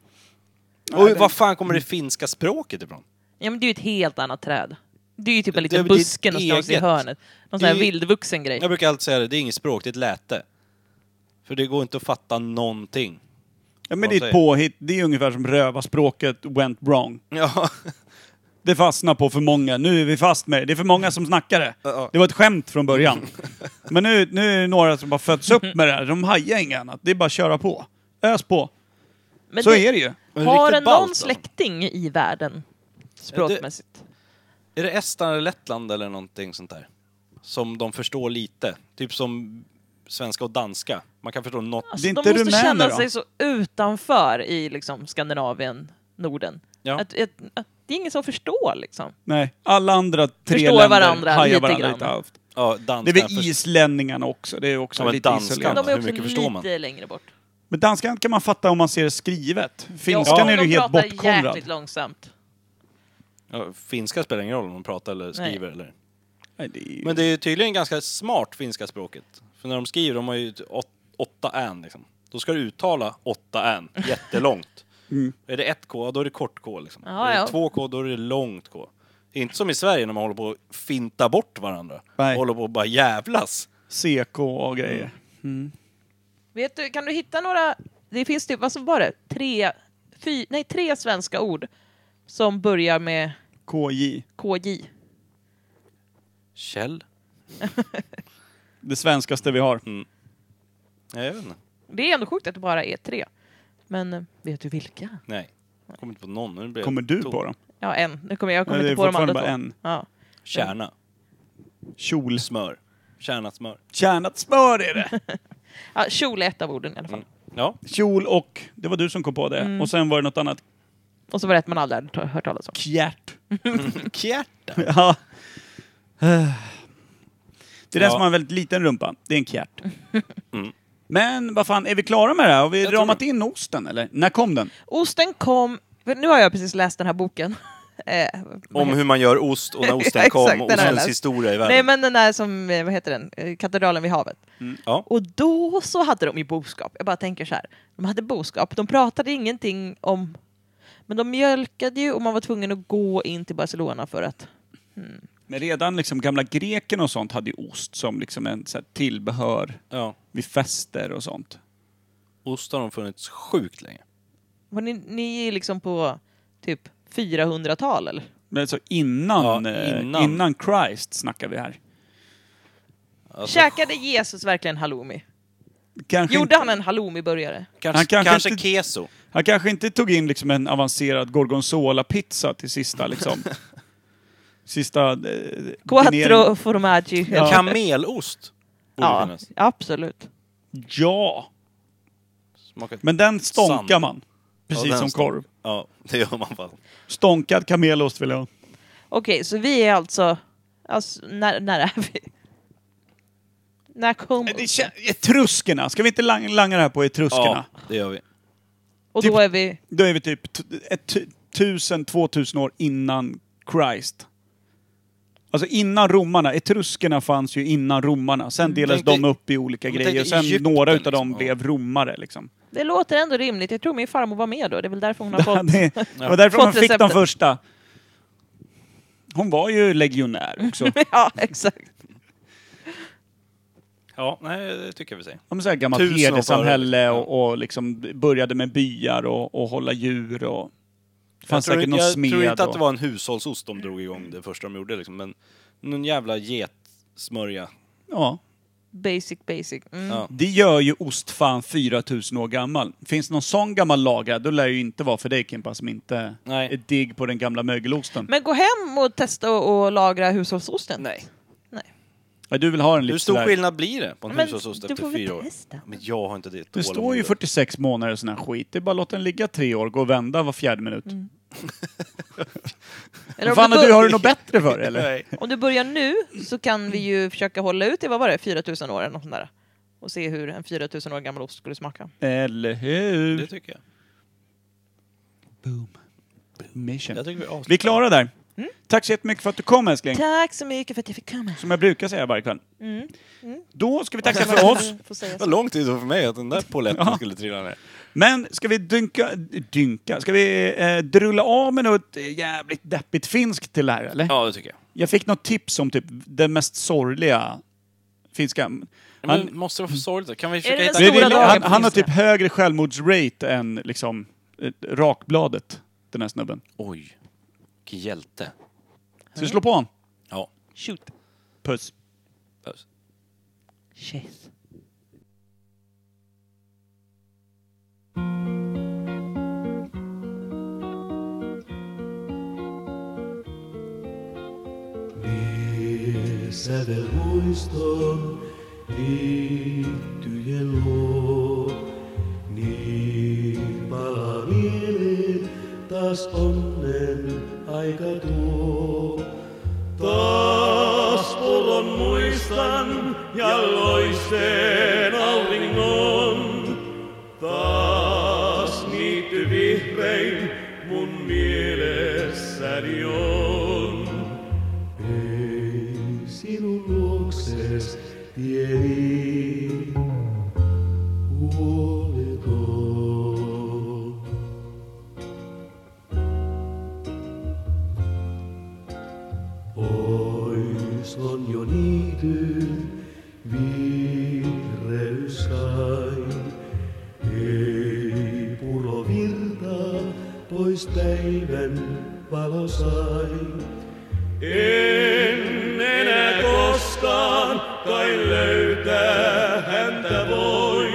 Och var fan kommer det finska språket ifrån?
Ja, men det är ju ett helt annat träd. Det är ju typ en
Det är
liten
väl ditt
buske någonstans i
eget.
hörnet. Någon sån här
Det är-
vildvuxen grej.
Jag brukar alltid säga det, det är inget språk, det är ett läte. För det går inte att fatta någonting.
Ja, men
Vad
det är ett
säger-
påhitt. Det är ungefär som rövarspråket went wrong.
Ja,
Det fastnar på för många. Nu är vi fast med det. Det är för många som snackar det.
ja.
Det var ett skämt
<laughs>
från början. Men nu, nu är det några som bara fötts upp med det här. De hajar inget annat. Det är bara att köra på. Ös på.
Men
Så
det- Alltså,
är det ju.
Men
Har
riktigt
en
ballt,
någon
alltså.
släkting i världen? Språkmässigt.
Är det Estland eller Lettland eller någonting sånt där? Som de förstår lite. Typ som svenska och danska. Man kan förstå något.
Alltså,
Det är inte
de måste
rumäner,
känna
då?
sig så utanför i liksom, Skandinavien, Norden.
Ja.
Att, att, att, det är ingen som förstår liksom.
Nej, alla andra tre
Förstår
länder
varandra
hajar
lite
varandra
grann.
lite halvt.
Ja,
Det
danska.
är väl islänningarna också. Det är också
Ja, men
lite
danskarna.
isolerat.
Men de är
hur
också
mycket
lite
förstår man?
längre bort.
Men danskan kan man fatta om man ser det skrivet.
Ja,
Finskan
och
är du
de
helt
pratar
bortkomrad.
jäkligt långsamt.
Ja, finska spelar ingen roll om de pratar eller
Nej.
skriver. Eller.
Nej, det är ju-
Men det är tydligen ganska smart, finska språket. För när de skriver, de har ju ett åt, åtta än liksom. Då ska du uttala åtta än, <laughs> jättelångt. Är det ett K, då är det kort K liksom.
Ja,
är det
ja.
två K, då är det långt K. Det är inte som i Sverige när man håller på att finta bort varandra.
Nej.
Håller på att bara jävlas.
CK och grejer.
Vet du, kan du hitta några... Det finns typ, vad så var det? Tre, fy, nej, tre svenska ord som börjar med
KJ.
KJ.
Kjell?
Det svenskaste vi har.
Nej, jag vet inte.
Det är ändå sjukt att det bara är tre. Men eh, vet du vilka?
Nej. Jag kommer inte på någon. Nu blir jag
Kommer du
tom.
på dem?
Ja, en. Nu kommer jag, jag kommer
Nej, det är
inte på de
fortfarande
andra två.
bara en.
Ja.
Kärna.
Kjol.
Smör. Kärnat smör.
Kärnat smör är det!
Ja, kjol är ett av orden i alla fall.
Mm.
Ja.
Kjol och... Det var du som kom på det.
Mm.
Och sen var det något annat.
Och så var det ett man aldrig hade ta- hört talas om. <laughs>
Kjärt.
Kjärta.
Ja. Det är den
Ja.
som har en väldigt liten rumpa. Det är
<laughs>
en kjärt.
Mm.
Men vad fan, är vi klara med det här? Har vi
tror
ramat in osten eller? När kom den?
Osten kom... för Nu har jag precis läst den här boken. <laughs> Eh, vad
Om
heter-
hur man gör ost och <laughs> när osten
Exakt,
kom
den
och
har jag
ostens
läst.
historia i världen.
Nej, men den där som... eh, Vad heter den? Eh, Katedralen vid havet.
ja.
Och då så hade de ju boskap. Jag bara tänker så här. De hade boskap. De pratade ingenting om... Men de mjölkade ju och man var tvungen att gå in till Barcelona för att...
Men redan liksom gamla greken och sånt hade ju ost som liksom en så här tillbehör
ja.
vid fester och sånt.
Ost har de funnits sjukt länge.
Var ni, ni är liksom på typ 400-tal eller?
Men så innan,
Ja,
eh, innan.
innan.
Christ snackar vi här.
Alltså,
Käkade Jesus verkligen halloumi?
Kanske
Gjorde
inte,
han en halloumi-burgare?
kanske,
Han kanske
kanske,
inte-
keso.
han kanske inte tog in liksom en avancerad gorgonzola-pizza till
<laughs>
sista liksom. sista... Eh,
Quattro
dinering.
formaggi.
Ja.
Kamelost borde
ja,
finnas.
absolut.
Ja!
Smakar...
Men den stånkar
Sand.
man. Precis
den
som
stånkar.
korv.
Ja, det gör man fan.
Stånkad kamelost vill jag ha.
Okej, så vi är alltså... alltså när, när är vi? När kom...
Det kän- Etruskerna! Ska vi inte lang- langa det här på etruskerna?
Ja, det gör vi.
Och
typ-
då är vi...
Då är vi typ t- ett tu- tusen, två tusen år innan Christ. Alltså innan romarna. Etruskerna fanns ju innan romarna. Sen delades
tänk
de
dig-
upp i olika
Mm, men
grejer.
tänk
Och
dig
sen
Egypten,
några utav dem
liksom. Ja.
blev romare
<laughs>
liksom.
Det låter ändå rimligt. Jag tror min farmor var med då. Det är väl därför hon har fått...
<laughs> Det det var därför
Fått
man fick de
receptet.
första. Hon var ju
<laughs>
legionär också.
<laughs> ja, exakt.
Ja, nej, det tycker jag vi säger.
Ja, men så här gammalt
Tusen år före.
herdesamhälle
Ja.
och, och liksom började med byar och, och hålla djur och... Det fanns
jag
säkert
tror,
någon
jag
smed
tror inte att
och-
det var en hushållsost de drog igång det första de gjorde liksom, men någon jävla getsmörja.
Ja.
Basic, basic. Mm.
Ja.
Det gör ju ost fan 4000 år gammal. Finns det någon sån gammal lagrad, då lär det ju inte vara för dig Kimpa som inte
Nej.
är digg på den gamla mögelosten.
Men gå hem och testa och, och lagra hushållsosten.
Nej.
Ja, du vill ha en
Hur
lite
stor
sådär-
skillnad blir det på en
Men
hushållsost
du
efter
får väl
fyra år?
testa.
Men jag har inte det
Det står ju
tålamodet.
46 månader och sån här skit. Det är bara att låta den ligga tre år, gå och vända var fjärde minut.
Mm. Eller
Vad
om,
fan,
du
har du,
bör-
har du något bättre för dig, eller?
Nej.
om du börjar nu så kan vi ju försöka hålla ut i, vad var det, 4000 år eller något sånt där. Och se hur en 4000 år gammal ost skulle
Mm.
smaka.
Eller
Det
hur?
tycker jag. Jag
Mission.
tycker vi avslutar.
Vi är klara där. Tack så jättemycket för att du kom älskling.
Mm. Tack så mycket för att jag fick komma.
Som jag brukar säga varje kväll.
Mm.
Då ska vi tacka för oss.
Får säga
Det
så.
var lång tid för mig att den där polletten
Ja.
skulle trilla ner.
Men ska vi dynka, dynka, ska vi eh, drulla av med något eh, jävligt deppigt finskt till det här eller?
Ja, det tycker jag.
Jag fick något tips om typ den mest sorgliga finska. Han,
Men måste det vara för sorgligt? Kan vi försöka
den
hitta...
det,
stora
det,
dagen
han,
på
han har
Instagram?
typ högre självmordsrate än liksom eh, rakbladet, den här snubben.
Oj. Vilken hjälte.
Ska
Mm.
vi slå på honom?
Ja.
Shoot.
Puss.
Puss.
Shit.
Niissä del muiston liittyjen luo. Niin palaa mieleen taas onnen aika tuo. Taas pullon muistan ja loiseen auringon. Taas niitty vihrein mun mielessäni on. Ei sinun luokses tieni huoleton. Pois on jo niityn vihreys sain. Ei pulo virtaa pois päivän valo sain. En enää koskaan kai löytää häntä voi.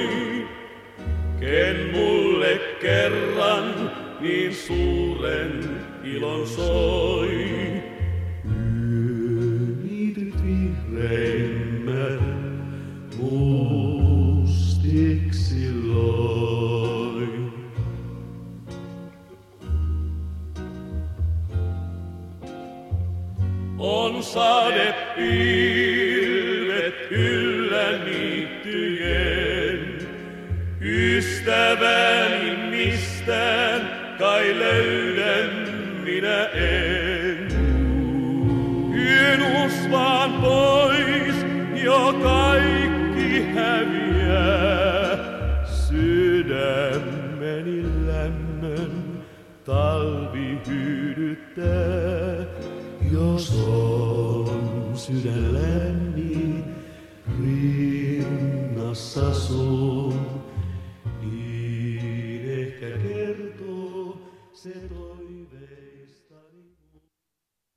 Ken mulle kerran niin suuren ilon soi. Yöniityt vihreimmän mustiksi loi. on sadepilvet yllä niittyjen. Ystäväni mistään kai löydän minä en. Yön usvaan pois jo kaikki häviää. Sydämeni lämmön talvi hyydyttää. Jos on sydän lämmin rinnassa sun. niin